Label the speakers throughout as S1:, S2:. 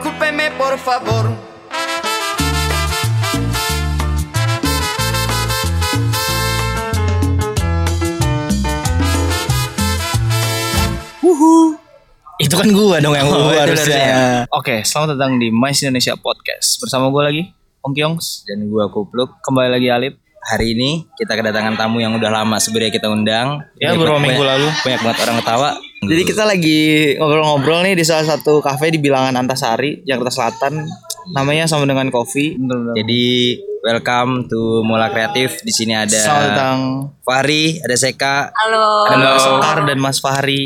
S1: Créeme por favor.
S2: Wuhu. Itu kan gua dong yang
S3: Oh,
S2: wuhu
S3: itu
S2: harusnya.
S3: Oke, selamat datang di Mais Indonesia Podcast. Bersama gue lagi, Ong Kyongs.
S2: Dan gua kupluk kembali lagi Alip. Hari ini kita kedatangan tamu yang udah lama sebenarnya kita undang.
S3: Ya, beberapa
S2: banyak-
S3: minggu lalu.
S2: Banyak banget orang ketawa.
S3: Jadi kita lagi ngobrol-ngobrol nih di salah satu kafe di bilangan Antasari, Jakarta Selatan. Namanya sama dengan Kopi.
S2: Jadi welcome to Mula Kreatif. Di sini ada
S3: Selamat datang
S2: Fahri, ada Seka.
S4: Halo.
S3: ada Mbak Sekar dan Mas Fahri.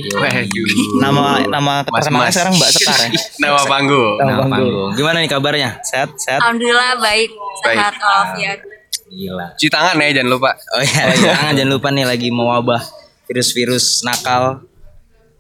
S3: Nama nama terkenalnya sekarang Mbak Sekar ya.
S5: Nama panggung.
S3: Nama
S2: Nah,
S3: panggung.
S2: panggung. Gimana nih kabarnya?
S3: Sehat, sehat.
S4: Alhamdulillah baik, sehat walafiat.
S2: Gila.
S5: Cuci tangan ya jangan lupa.
S2: Oh iya, jangan, jangan lupa nih lagi mewabah virus-virus nakal.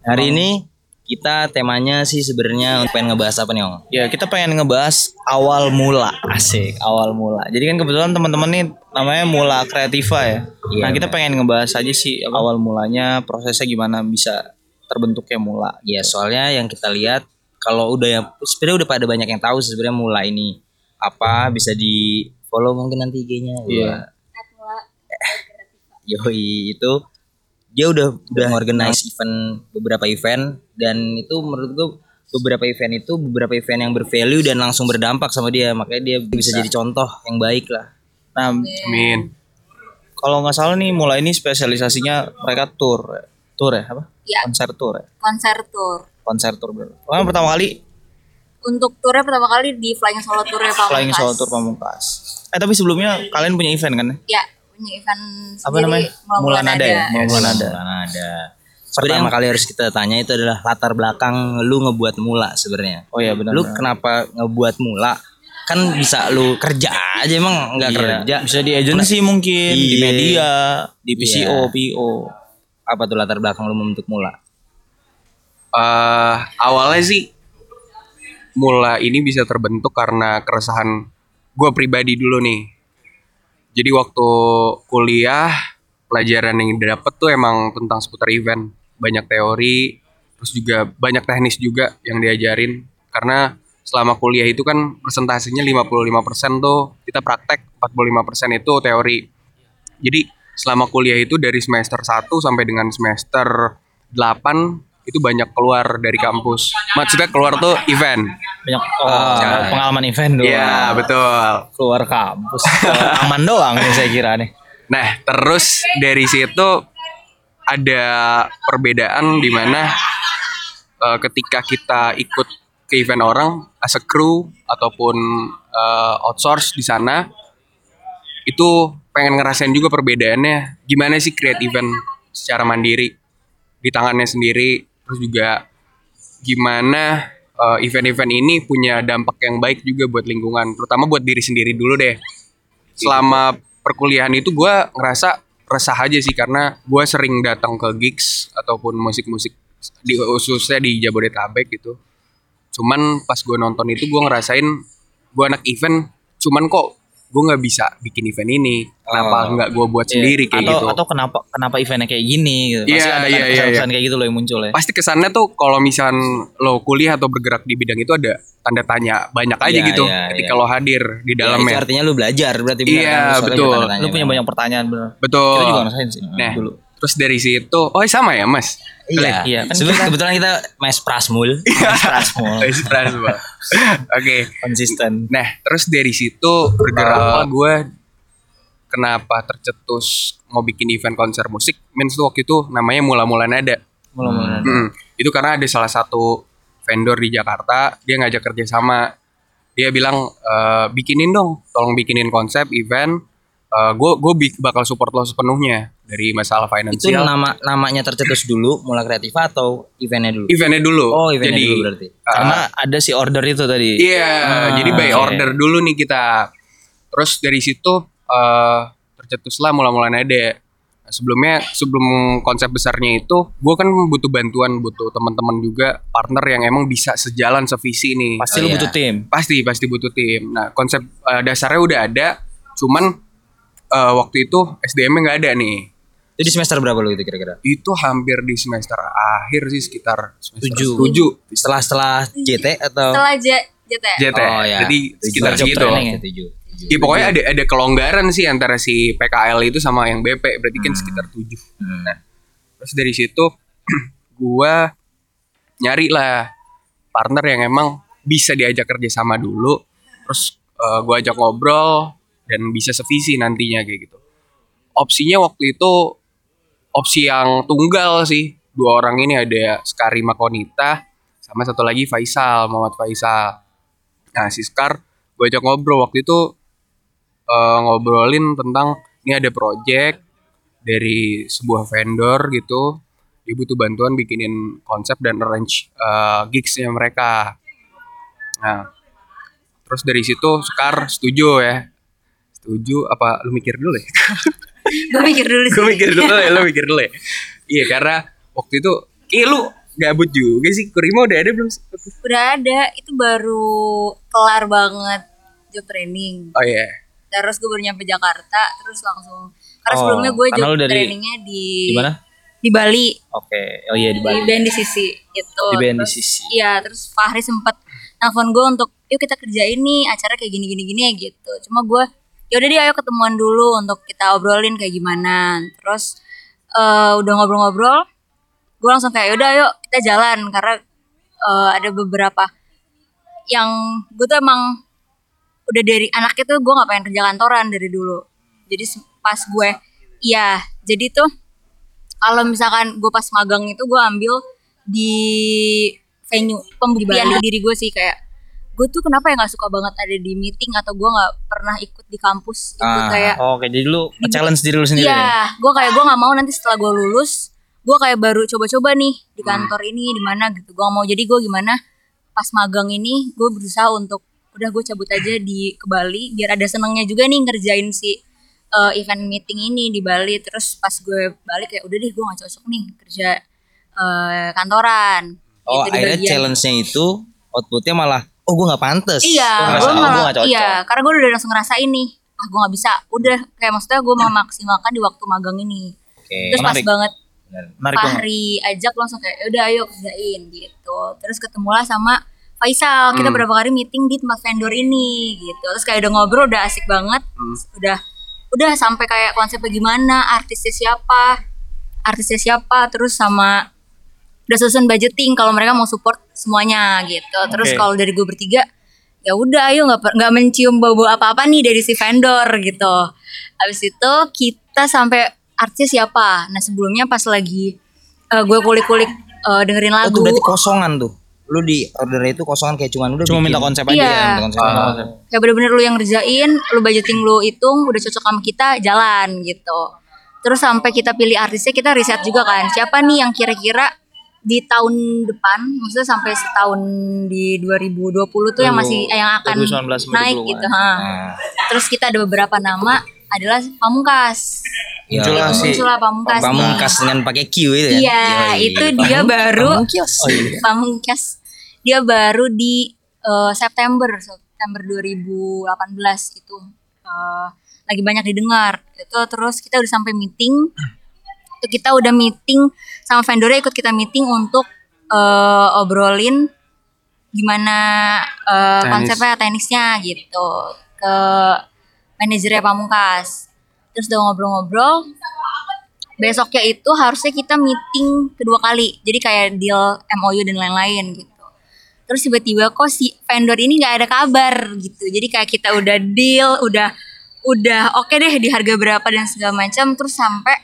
S2: Hari ini kita temanya sih sebenarnya pengen ngebahas apa nih, Om?
S3: Ya, kita pengen ngebahas awal mula. Asik, awal mula. Jadi kan kebetulan teman-teman nih namanya Mula Kreativa ya.
S2: Iya,
S3: nah, kita pengen ngebahas aja sih awal mulanya, prosesnya gimana bisa terbentuknya mula.
S2: Ya, soalnya yang kita lihat kalau udah ya sebenarnya udah pada banyak yang tahu sih sebenarnya mulai ini apa bisa di follow mungkin nanti IG-nya. Iya. Yoi itu dia udah udah organize event beberapa event dan itu menurut gue beberapa event itu beberapa event yang bervalue dan langsung berdampak sama dia makanya dia bisa, jadi contoh yang baik lah
S3: Nah,
S5: Amin.
S3: kalau nggak salah nih Mula ini spesialisasinya mereka tour. Tour ya, apa?
S4: Iya.
S3: Konser tour ya.
S4: Konser tour.
S3: Konser tour. Karena pertama kali
S4: Untuk turnya pertama kali di Flying Solo Tour ya Pak.
S3: Flying Solo Tour Pamungkas. Eh, tapi sebelumnya kalian punya event kan? ya?
S4: Ya, punya event
S3: Apa
S4: sendiri.
S3: namanya? Mula Nada ya? Mula
S2: Yes,
S3: Mulan ada.
S2: Mulan ada. Pertama kali harus kita tanya itu adalah latar belakang lu ngebuat mula sebenarnya.
S3: Oh iya, benar,
S2: Lu kenapa ngebuat mula? Kan bisa lu kerja aja emang nggak kerja.
S3: Iya, Bisa di agensi mungkin, di
S2: Iya.
S3: media, di PCO,
S2: Iya.
S3: PO.
S2: Apa tuh latar belakang lu membentuk mula?
S5: Eh, awalnya sih mula ini bisa terbentuk karena keresahan gue pribadi dulu nih. Jadi waktu kuliah pelajaran yang didapat tuh emang tentang seputar event, banyak teori, terus juga banyak teknis juga yang diajarin. Karena selama kuliah itu kan persentasenya 55% tuh kita praktek, 45% itu teori. Jadi selama kuliah itu dari semester 1 sampai dengan semester 8 itu banyak keluar dari kampus. Maksudnya keluar tuh event.
S3: Banyak
S2: Ah.
S3: oh, pengalaman event doang.
S5: Iya, betul.
S3: Keluar kampus. Keluar aman doang nih saya kira nih.
S5: Nah, terus dari situ ada perbedaan di mana eh, ketika kita ikut ke event orang as a crew ataupun eh, outsource di sana itu pengen ngerasain juga perbedaannya gimana sih create event secara mandiri di tangannya sendiri terus juga gimana eh, event-event ini punya dampak yang baik juga buat lingkungan terutama buat diri sendiri dulu deh selama perkuliahan itu gue ngerasa resah aja sih karena gue sering datang ke gigs ataupun musik-musik di khususnya di Jabodetabek gitu. Cuman pas gue nonton itu gue ngerasain gue anak event, cuman kok gue nggak bisa bikin event ini. Kenapa
S2: Oh.
S5: nggak gue buat sendiri kayak
S3: atau,
S5: gitu?
S3: atau kenapa kenapa eventnya kayak gini gitu. Pasti
S5: Iya, iya,
S3: ada kan
S5: iya, iya.
S3: kesan-kesan kayak gitu loh yang muncul ya.
S5: Pasti kesannya tuh kalau misal lo kuliah atau bergerak di bidang itu ada tanda tanya banyak aja
S2: Iya,
S5: gitu
S2: iya,
S5: ketika
S2: iya.
S5: lo hadir di
S2: Ya, itu
S5: dalamnya.
S2: artinya lu belajar berarti benar
S5: Iya,
S2: kan? Lu soalnya
S5: betul.
S2: bertanya-tanya
S3: Lu punya
S2: kan?
S3: banyak pertanyaan bener.
S5: Betul.
S3: Kita juga ngerasain sih
S5: Nah,
S3: dulu.
S5: terus dari situ, oh sama ya mas?
S2: Iya.
S3: Iya,
S2: iya.
S3: kan
S2: kebetulan kita mes prasmul.
S3: Prasmul
S5: Dari situ, Oke,
S3: konsisten.
S5: Nah, terus dari situ bergerak gue kenapa tercetus mau bikin event konser musik. Mens tuh waktu itu namanya mula-mula nada.
S3: Mula-mula.
S5: Hmm, Itu karena ada salah satu vendor di Jakarta, dia ngajak kerja sama. Dia bilang "Eh, bikinin dong, tolong bikinin konsep event. Eh, gue gue bakal support lo sepenuhnya dari masalah
S2: itu
S5: finansial.
S2: nama namanya tercetus dulu mula kreatif atau eventnya dulu?
S5: Eventnya dulu.
S2: Oh, eventnya
S5: Jadi,
S2: dulu berarti. Ah,
S5: eh,
S3: Karena ada si order itu tadi.
S5: Iya, jadi by order dulu nih kita. Terus dari situ eh tercetuslah mula-mula nada. Nah, sebelumnya sebelum konsep besarnya itu, gue kan butuh bantuan, butuh teman-teman juga partner yang emang bisa sejalan sevisi nih.
S2: Oh,
S3: Pasti lu
S2: iya.
S3: butuh tim.
S5: Pasti pasti butuh tim. Nah konsep eh, dasarnya udah ada, cuman eh, waktu itu SDM-nya nggak ada nih.
S2: Itu di semester berapa lu itu kira-kira?
S5: Itu hampir di semester akhir sih sekitar semester
S2: Tujuh.
S5: tujuh.
S2: Setelah setelah JT atau
S4: Setelah J- JT.
S5: JT.
S2: Oh, ya.
S5: Jadi sekitar
S2: Job
S5: segitu.
S2: training ya? Tujuh.
S5: Ya, pokoknya ada ada kelonggaran sih antara si PKL itu sama yang BP berarti
S2: Hmm.
S5: kan sekitar 7. Nah, terus dari situ gua nyari lah partner yang emang bisa diajak kerja sama dulu terus eh, gua ajak ngobrol dan bisa sevisi nantinya kayak gitu. Opsinya waktu itu opsi yang tunggal sih. Dua orang ini ada Skari Makonita sama satu lagi Faisal, Muhammad Faisal. Nah, si Skar gue ajak ngobrol waktu itu eh, ngobrolin tentang ini ada project dari sebuah vendor gitu. Dia butuh bantuan bikinin konsep dan arrange eh, gigsnya mereka. Nah, terus dari situ Skar setuju ya. Setuju apa lu mikir dulu ya?
S4: Gue mikir dulu sih.
S5: gue mikir dulu ya, lo mikir dulu ya. Iya karena waktu itu, eh lu gabut juga sih, Kurima udah ada belum? sih?
S4: Udah ada, itu baru kelar banget job training.
S5: Oh iya,
S4: Terus gue baru nyampe Jakarta, terus langsung karena
S2: Oh,
S4: sebelumnya gue
S2: karena
S4: job
S2: lu dari-
S4: trainingnya di
S2: Di mana?
S4: Di Bali,
S2: Oke. Oh iya di
S4: di
S2: Bali.
S4: band di sisi itu.
S2: Di band di
S4: Terus-
S2: sisi.
S4: Iya, terus Fahri sempet nelfon gue untuk yuk kita kerjain nih acara kayak gini gini gini gitu. Cuma gue yaudah deh ayo ketemuan dulu untuk kita obrolin kayak gimana. Terus eh, udah ngobrol-ngobrol, gue langsung kayak yaudah ayo kita jalan karena eh, ada beberapa yang gue tuh emang udah dari anaknya tuh gue nggak pengen kerja kantoran dari dulu. Jadi se- pas gue iya jadi tuh kalau misalkan gue pas magang itu gue ambil di venue pembuktian di diri gue sih kayak gue tuh kenapa ya nggak suka banget ada di meeting atau gue nggak pernah ikut di kampus itu
S2: Ah,
S4: kayak
S2: Oke, jadi lu challenge diri lu sendiri. ya? nih?
S4: iya gue kayak gue nggak mau nanti setelah gue lulus gue kayak baru coba-coba nih di
S2: Hmm.
S4: kantor ini di mana gitu gue mau jadi gue gimana pas magang ini gue berusaha untuk udah gue cabut aja di ke Bali biar ada senangnya juga nih ngerjain si uh, event meeting ini di Bali terus pas gue balik kayak udah deh gue nggak cocok nih kerja uh, kantoran
S2: Oh,
S4: Gitu di
S2: akhirnya
S4: bagian.
S2: challenge-nya itu outputnya malah oh gue nggak pantas.
S4: Iya,
S2: Gua ngerasa,
S4: gue
S2: "Oh, gua
S4: malah,
S2: nggak cocok.
S4: iya, karena gue udah langsung ngerasain nih, ah gue nggak bisa, udah kayak maksudnya gue memaksimalkan di waktu magang ini.
S2: Oke,
S4: Terus
S2: menarik.
S4: pas banget
S2: Benar. Menarik banget.
S4: Fahri ajak langsung kayak udah ayo kerjain gitu. Terus ketemulah sama Faisal, kita
S2: Hmm.
S4: berapa kali meeting di tempat vendor ini gitu. Terus kayak udah ngobrol udah asik banget.
S2: Hmm.
S4: Udah udah sampai kayak konsepnya gimana, artisnya siapa, artisnya siapa, terus sama udah susun budgeting kalau mereka mau support semuanya gitu. Terus
S3: Oke.
S4: kalau dari gue bertiga ya udah ayo nggak per- nggak mencium bau-bau apa-apa nih dari si vendor gitu. Habis itu kita sampai artis siapa? Nah, sebelumnya pas lagi eh, gue kulik-kulik eh, dengerin
S2: Oh,
S4: lagu.
S2: tuh berarti kosongan tuh. Lu di order itu kosongan kayak cuman udah
S3: Cuma
S2: bikin. Ah.
S3: minta konsep aja
S4: Iya.
S3: ya.
S2: Minta konsep. Iya. minta konsep.
S4: kayak Ya, bener-bener lu yang ngerjain, lu budgeting, lu hitung, udah cocok sama kita, jalan gitu. Terus sampai kita pilih artisnya, kita riset juga kan, siapa nih yang kira-kira di tahun depan, maksudnya sampai setahun di 2020 tuh yang masih eh, yang akan
S3: 2019 sampai
S4: naik
S3: 20-an.
S4: gitu. ha.
S2: Nah,
S4: Terus kita ada beberapa nama adalah Pamungkas.
S2: ya,
S3: Muncul lah si-
S4: Muncullah Pamungkas. nih.
S2: Pamungkas dengan pakai Q itu kan.
S4: Iya,
S2: Yoi.
S4: itu dia baru
S2: Pamungkas. Oh, iya.
S4: Pamungkas. Dia baru di eh, September September 2018 itu eh, lagi banyak didengar. Itu terus kita udah sampai meeting. Itu kita udah meeting sama vendornya ikut kita meeting untuk eh, obrolin gimana eh,
S5: Teknis.
S4: konsepnya teknisnya gitu ke manajernya Pamungkas. Terus udah ngobrol-ngobrol besoknya itu harusnya kita meeting kedua kali jadi kayak deal MOU dan lain-lain gitu terus tiba-tiba kok si vendor ini nggak ada kabar gitu jadi kayak kita udah deal udah udah oke deh di harga berapa dan segala macam terus sampai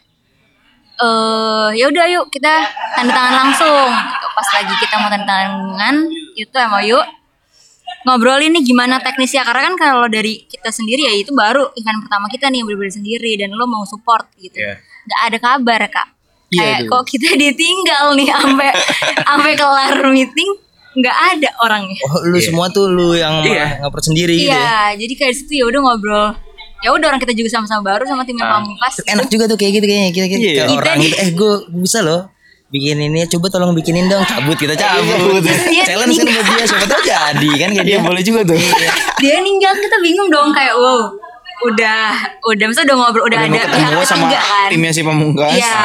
S4: eh ya udah yuk kita tanda tangan langsung gitu. pas lagi kita mau tanda tangan itu MOU ngobrolin nih gimana teknisnya karena kan kalau dari kita sendiri ya itu baru event pertama kita nih yang bener-bener sendiri dan lo mau support gitu
S5: Iya.
S4: nggak ada kabar kak
S3: Iya,
S4: kayak kok kita ditinggal nih sampai sampai kelar meeting nggak ada orangnya
S2: Oh, lu semua tuh lu yang
S5: Iya.
S2: malah ngoper sendiri gitu ya.
S4: iya jadi kayak situ ya udah ngobrol ya udah orang kita juga sama-sama baru sama tim yang pamungkas
S2: Enak juga tuh kayak gitu kayaknya kita kita
S3: Iya.
S2: ke orang gitu. Eh, gue bisa loh bikin ini coba tolong bikinin dong cabut kita cabut
S3: Terus
S4: dia
S2: challenge kan buat dia siapa tahu jadi kan kayak dia
S3: Iya boleh juga tuh.
S4: dia ninggal kita bingung dong kayak wow udah udah misalnya udah ngobrol
S3: Udah
S4: udah,
S3: mau
S4: ada pihak
S3: ketemu sama
S4: ketiga kan
S3: timnya si pamungkas.
S4: iya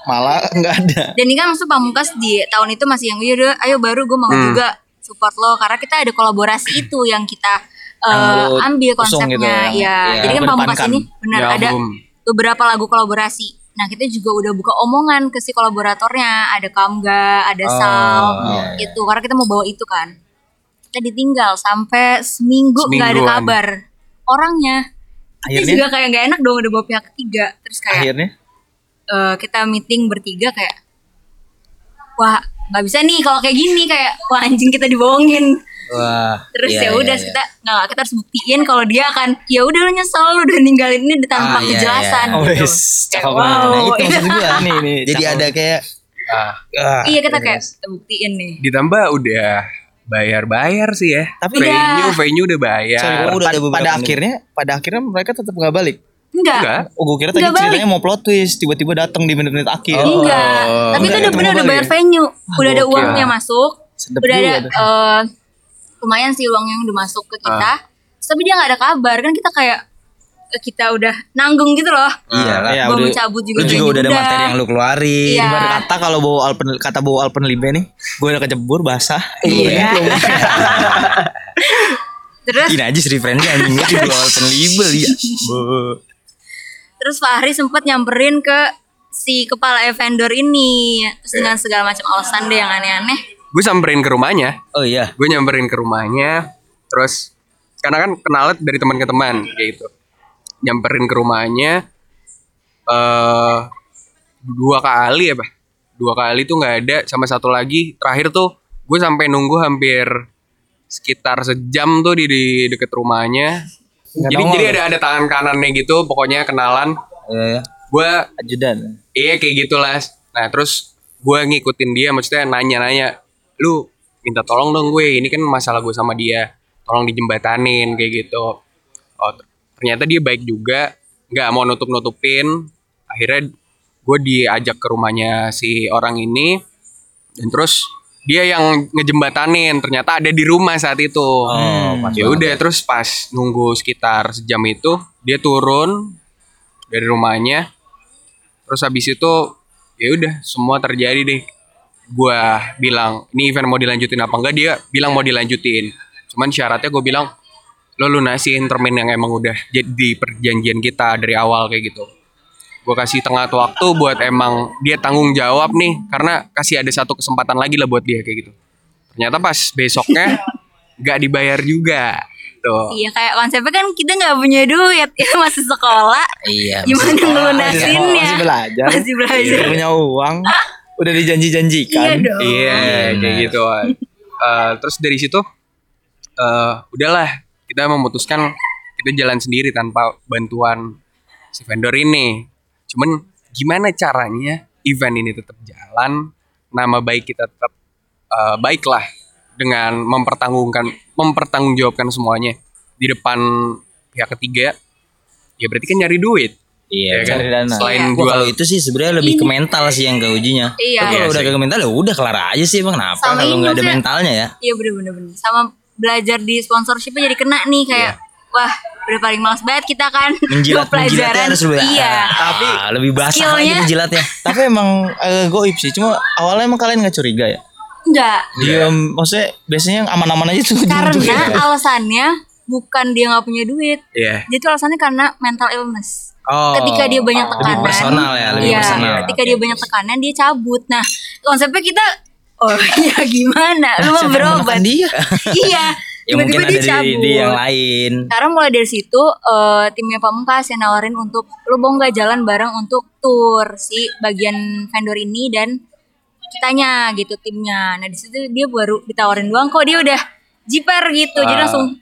S3: Malah nggak ada.
S4: "Iya,
S2: Hmm.
S4: dan ini kan maksud pamungkas di tahun itu masih yang yaudah ayo baru gue mau juga support lo karena kita ada kolaborasi itu yang kita eh,
S2: Yang lo
S4: ambil
S2: usung
S4: konsepnya
S2: gitu ya.
S4: ya.
S2: Iya, Ya,
S4: Jadi kan
S3: lo
S4: pamungkas
S3: depankan.
S4: ini benar
S5: Di
S4: ada
S5: album.
S4: beberapa lagu kolaborasi. Nah kita juga udah buka omongan ke si kolaboratornya ada Kamga, ada Sal
S2: iya, iya.
S4: gitu karena kita mau bawa itu kan. Kita ditinggal sampai seminggu nggak ada
S5: Semingguan.
S4: kabar orangnya. Kita
S3: Akhirnya?
S4: juga kayak nggak enak dong udah bawa pihak ketiga terus kayak
S3: akhirnya
S4: eh, kita meeting bertiga kayak wah nggak bisa nih kalau kayak gini kayak wah anjing kita dibohongin
S2: Wah.
S4: terus
S2: iya,
S4: ya udah
S2: iya,
S4: kita nggak kita harus buktiin kalau dia akan ya udah lu nyesel lu udah ninggalin ini tanpa
S2: Ah, iya,
S4: kejelasan
S2: iya.
S3: oh
S4: gitu.
S3: wes
S4: Kayak,
S3: cakep banget
S4: wow,
S3: nah, itu maksud
S4: iya.
S3: gue nih nih
S2: iya. Jadi
S3: cakep.
S2: ada kayak
S5: Ah,
S3: Ah,
S4: iya kita kayak kita buktiin nih
S5: ditambah udah bayar-bayar sih ya.
S3: Tapi iya.
S5: venue venue udah bayar.
S3: sorry,
S2: udah ada beberapa
S3: pad- Ya, pada
S2: menit.
S3: akhirnya pada akhirnya mereka tetap nggak balik
S4: enggak
S5: Enggak.
S3: oh gue kira tadi
S4: Nggak balik.
S3: ceritanya mau plot twist tiba-tiba datang di menit-menit akhir
S4: enggak tapi itu
S3: enggak,
S4: udah
S3: itu
S4: bener
S3: mau
S4: udah
S3: balik
S4: bayar
S3: ya?
S4: venue udah ada
S5: gokil.
S4: uangnya masuk
S3: Sedep
S4: udah ada
S3: juga tuh.
S4: eh, lumayan sih uang yang udah masuk ke kita tapi dia nggak ada kabar kan kita kayak eh, kita udah nanggung gitu loh
S2: Oh, Iyalah.
S3: Iya,
S4: Gua
S3: udah-
S4: mau cabut juga
S2: Lu juga
S4: kayaknya
S2: udah ada materi yang lu keluarin.
S4: Iya.
S3: Ibarat kata kalau bawa alpen kata bawa alpenlibe nih, gue udah kejebur basah.
S2: Iya.
S4: terus
S2: Ini aja sih friendnya anjing itu jual open label ya.
S4: terus Fahri sempat nyamperin ke si kepala vendor ini terus
S2: Iya.
S4: dengan segala macam alasan deh yang aneh-aneh
S5: Gue samperin ke rumahnya.
S2: Oh iya.
S5: Gue nyamperin ke rumahnya. Terus karena kan kenalan dari teman ke teman kayak gitu. Nyamperin ke rumahnya eh dua kali ya, Pak. Dua kali tuh nggak ada sama satu lagi terakhir tuh gue sampai nunggu hampir sekitar sejam tuh di, di deket rumahnya.
S3: Nggak
S5: jadi
S3: nongol
S5: jadi
S3: ya?
S5: ada ada tangan kanannya gitu, pokoknya kenalan.
S2: Iya. iya.
S5: Gue
S3: Ajudan.
S5: Iya kayak gitulah. Nah terus gue ngikutin dia, maksudnya nanya-nanya, lu minta tolong dong gue, ini kan masalah gue sama dia, tolong dijembatanin kayak gitu. Oh ter- ternyata dia baik juga, nggak mau nutup-nutupin. Akhirnya gue diajak ke rumahnya si orang ini, dan terus dia yang ngejembatanin, ternyata ada di rumah saat itu. ya udah terus pas nunggu sekitar sejam itu dia turun dari rumahnya terus habis itu ya udah semua terjadi deh gua bilang ini event mau dilanjutin apa enggak dia bilang mau dilanjutin cuman syaratnya gue bilang lo lunasin termin yang emang udah jadi perjanjian kita dari awal kayak gitu gue kasih tengah waktu buat emang dia tanggung jawab nih karena kasih ada satu kesempatan lagi lah buat dia kayak gitu ternyata pas besoknya nggak dibayar juga tuh
S4: iya kayak konsepnya kan kita nggak punya duit ya masih sekolah
S2: Iya.
S4: gimana ngelunasinnya
S3: Masih belajar.
S4: Masih belajar.
S2: kan?
S3: Nggak punya uang. Udah
S4: iya
S3: dijanji-janjikan.
S4: dong
S5: Iya, kayak gitu. Eh, terus dari situ, eh udahlah kita memutuskan kita jalan sendiri tanpa bantuan si vendor ini. Cuman gimana caranya event ini tetap jalan, nama baik kita tetap eh, baik lah dengan mempertanggungkan, mempertanggungjawabkan semuanya di depan pihak ketiga. Ya berarti kan nyari duit. ya
S2: Iya.
S5: kan?
S3: cari dana.
S5: Selain
S2: Wah,
S5: jual
S2: kalau gitu. itu sih sebenarnya lebih ke mental sih yang gak ujinya.
S4: Iya.
S2: Tapi kalau
S5: Iya
S2: udah
S5: sih.
S2: ke mental ya udah kelar aja sih emang kenapa
S4: Sama
S2: kalau
S4: ini
S2: nggak ada
S4: maksudnya-
S2: mentalnya ya.
S4: Iya bener-bener bener. Sama belajar di sponsorshipnya jadi kena nih kayak wah udah paling males banget kita kan
S2: Iya. Menjilat
S4: Dua
S2: menjilatnya harus lebih.
S4: Iya.
S2: Tapi Ah, lebih basah lagi
S4: Skillnya-
S2: menjilatnya.
S3: Tapi emang eh, goib sih. Cuma awalnya emang kalian nggak curiga ya?
S4: Enggak.
S2: Iya.
S3: Diam. Maksudnya biasanya yang aman-aman aja tuh.
S2: ya.
S4: Karena
S3: ujung-ujungnya.
S4: alasannya bukan dia nggak punya duit.
S5: Iya.
S4: Jadi itu alasannya karena mental illness.
S2: Oh.
S4: ketika dia banyak tekanan,
S2: Lebih personal ya, lebih
S4: Iya,
S2: personal.
S4: Ketika dia banyak tekanan dia cabut. Nah, konsepnya kita oh ya gimana? Lu mau
S3: Siapa yang
S4: berobat?
S3: menekan dia?
S4: iya.
S2: Ya mungkin
S4: Tiba-tiba
S2: ada
S4: dia
S2: di,
S4: cabut.
S2: di yang lain.
S4: Karena mulai dari situ eh, timnya Pamungkas yang nawarin untuk lu mau nggak jalan bareng untuk tour si bagian vendor ini dan kitanya gitu timnya. Nah di situ dia baru ditawarin doang kok dia udah jiper gitu jadi langsung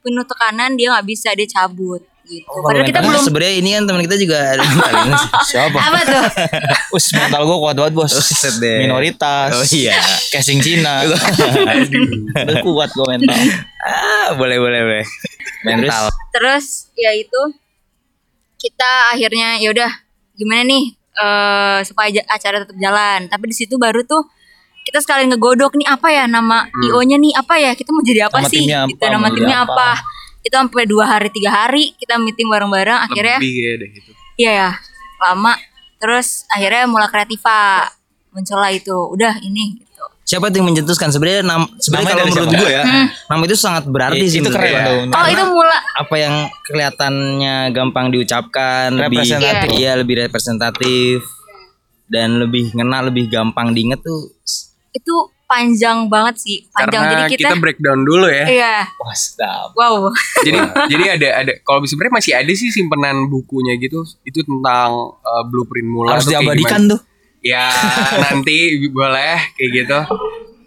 S4: penuh tekanan dia nggak bisa dia cabut gitu.
S2: Oh,
S4: Padahal kita
S2: Karena
S4: belum
S2: sebenarnya ini kan teman kita juga ada mental illness. Siapa?
S4: apa tuh?
S3: Us mental gue kuat banget bos.
S2: Buset deh.
S3: Minoritas.
S2: Oh, iya.
S3: Casing Cina. Udah kuat gue mental.
S2: Ah, boleh boleh boleh. Mental.
S4: Terus ya itu kita akhirnya ya udah gimana nih eh, supaya ja- acara tetap jalan. Tapi di situ baru tuh kita sekalian ngegodok nih apa ya nama IO-nya nih apa ya kita mau jadi apa
S3: Nama
S4: sih?
S3: Hmm. timnya
S4: Gitu,
S3: apa,
S4: nama
S3: mau jadi
S4: timnya
S3: apa.
S4: apa? Itu sampai dua hari tiga hari kita meeting bareng-bareng akhirnya
S5: lebih ya deh itu.
S4: Iya ya, lama. Terus akhirnya mulai kreativa muncullah itu. Udah ini gitu.
S2: siapa itu yang mencetuskan sebenarnya nam sebenarnya
S3: Namanya
S2: kalau
S3: dari
S2: menurut
S3: siapa?
S2: gue ya nama itu sangat berarti sih
S3: itu keren
S2: menurut gua.
S3: tuh.
S4: Oh itu mula
S2: apa yang kelihatannya gampang diucapkan
S3: Representatif.
S2: lebih iya lebih representatif dan lebih ngena lebih gampang diinget tuh
S4: itu panjang banget sih panjang
S5: Karena
S4: jadi
S5: kita breakdown dulu ya.
S4: iya
S3: Wah, sedap.
S4: wow
S5: jadi jadi ada ada kalau sebenarnya masih ada sih simpenan bukunya gitu itu tentang uh, blueprint mula
S2: harus
S5: tuh kayak
S2: diabadikan
S5: gimana.
S2: tuh.
S5: ya nanti boleh kayak gitu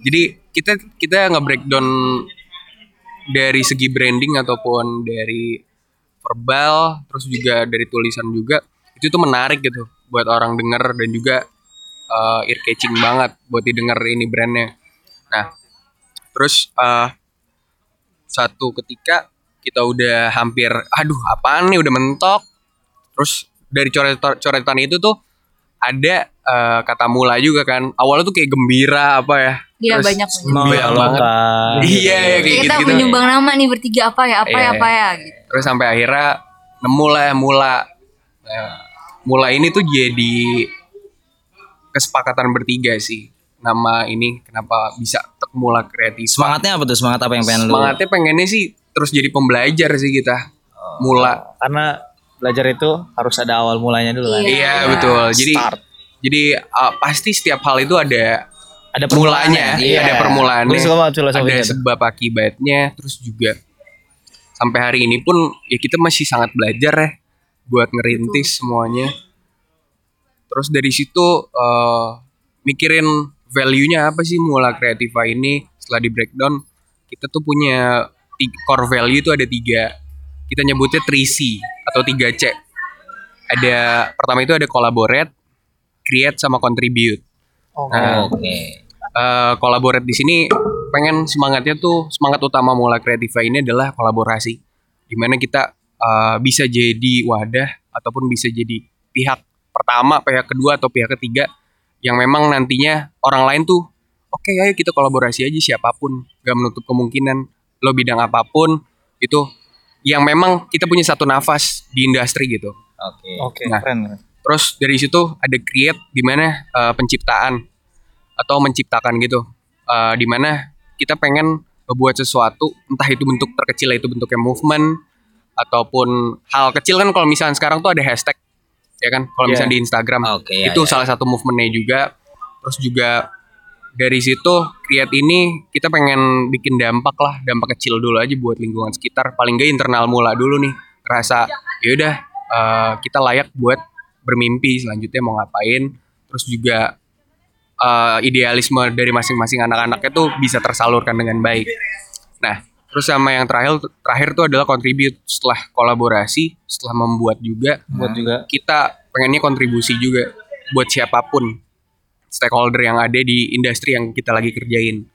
S5: jadi kita kita nge-breakdown dari segi branding ataupun dari verbal terus juga dari tulisan juga itu tuh menarik gitu buat orang denger dan juga uh, ear catching banget buat didengar ini brandnya nah terus uh, satu ketika kita udah hampir aduh apaan nih udah mentok terus dari coretan coretan itu tuh ada eh, kata mula juga kan awalnya tuh kayak gembira apa ya
S4: Iya,
S5: Terus
S4: banyak
S5: gembira banget. iya ya kayak
S4: kita
S5: gitu gitu
S4: menyumbang nama nih bertiga apa ya apa
S5: Iya,
S4: ya apa
S5: iya.
S4: ya gitu.
S5: terus sampai akhirnya nemu lah mula Nah, mula ini tuh jadi kesepakatan bertiga sih nama ini kenapa bisa Tek mula kreatif
S2: semangatnya apa tuh semangat apa yang pengen lu
S5: semangatnya pengennya sih terus jadi pembelajar sih kita mula
S3: Karena belajar itu harus ada awal mulanya dulu
S4: Oh.
S3: kan.
S5: Iya betul. Jadi
S3: Start.
S5: jadi uh, pasti setiap hal itu ada
S3: Ada
S5: mulanya,
S3: Iya.
S5: ada permulaannya,
S3: Gua suka banget filosofinya
S5: ada
S3: tuh.
S5: sebab akibatnya, terus juga sampai hari ini pun ya kita masih sangat belajar ya buat ngerintis semuanya. Terus dari situ uh, mikirin value-nya apa sih mula kreativa ini setelah di breakdown kita tuh punya ti- core value itu ada tiga kita nyebutnya 3C atau 3C ada pertama itu ada collaborate create sama contribute
S3: Oke.
S5: Nah,
S2: oke
S5: eh collaborate di sini pengen semangatnya tuh semangat utama Mula Kreativa ini adalah kolaborasi. Dimana kita eh, bisa jadi wadah ataupun bisa jadi pihak pertama, pihak kedua atau pihak ketiga yang memang nantinya orang lain tuh oke ayo kita kolaborasi aja siapapun gak menutup kemungkinan lo bidang apapun itu yang memang kita punya satu nafas di industri gitu.
S2: oke
S3: Oke,
S5: Nah.
S3: keren.
S5: Terus dari situ ada create di mana uh, penciptaan atau menciptakan gitu. Uh, di mana kita pengen membuat sesuatu entah itu bentuk terkecil itu bentuknya movement ataupun hal kecil kan kalau misalnya sekarang tuh ada hashtag ya kan kalau
S3: Iya.
S5: misalnya di Instagram
S2: Oke, ya,
S5: itu
S2: ya.
S5: salah satu movementnya juga terus juga dari situ create ini kita pengen bikin dampak lah dampak kecil dulu aja buat lingkungan sekitar paling gak internal mula dulu nih rasa yaudah eh, kita layak buat bermimpi selanjutnya mau ngapain terus juga eh, idealisme dari masing-masing anak-anaknya tuh bisa tersalurkan dengan baik nah terus sama yang terakhir terakhir tuh adalah contribute setelah kolaborasi setelah membuat juga
S3: Buat
S2: Nah.
S3: juga
S5: kita pengennya kontribusi juga buat siapapun stakeholder yang ada di industri yang kita lagi kerjain.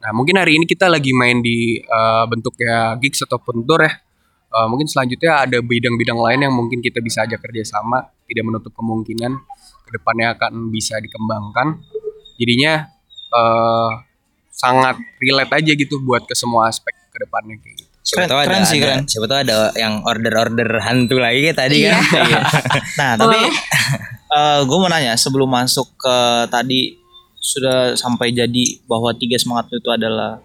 S5: Nah, mungkin hari ini kita lagi main di eh, bentuknya gigs ataupun tour ya. Eh, mungkin selanjutnya ada bidang-bidang lain yang mungkin kita bisa ajak kerjasama, tidak menutup kemungkinan kedepannya akan bisa dikembangkan. Jadinya eh, sangat relate aja gitu buat ke semua aspek kedepannya kayak gitu.
S2: Siapa
S3: Keren-
S2: tahu ada,
S3: keren sih,
S2: ada-
S3: keren.
S2: siapa tahu ada yang order-order hantu lagi kayak tadi kan. Iya.
S3: Nah, tapi
S2: Oh.
S3: gue mau nanya sebelum masuk ke tadi sudah sampai jadi bahwa tiga semangat itu adalah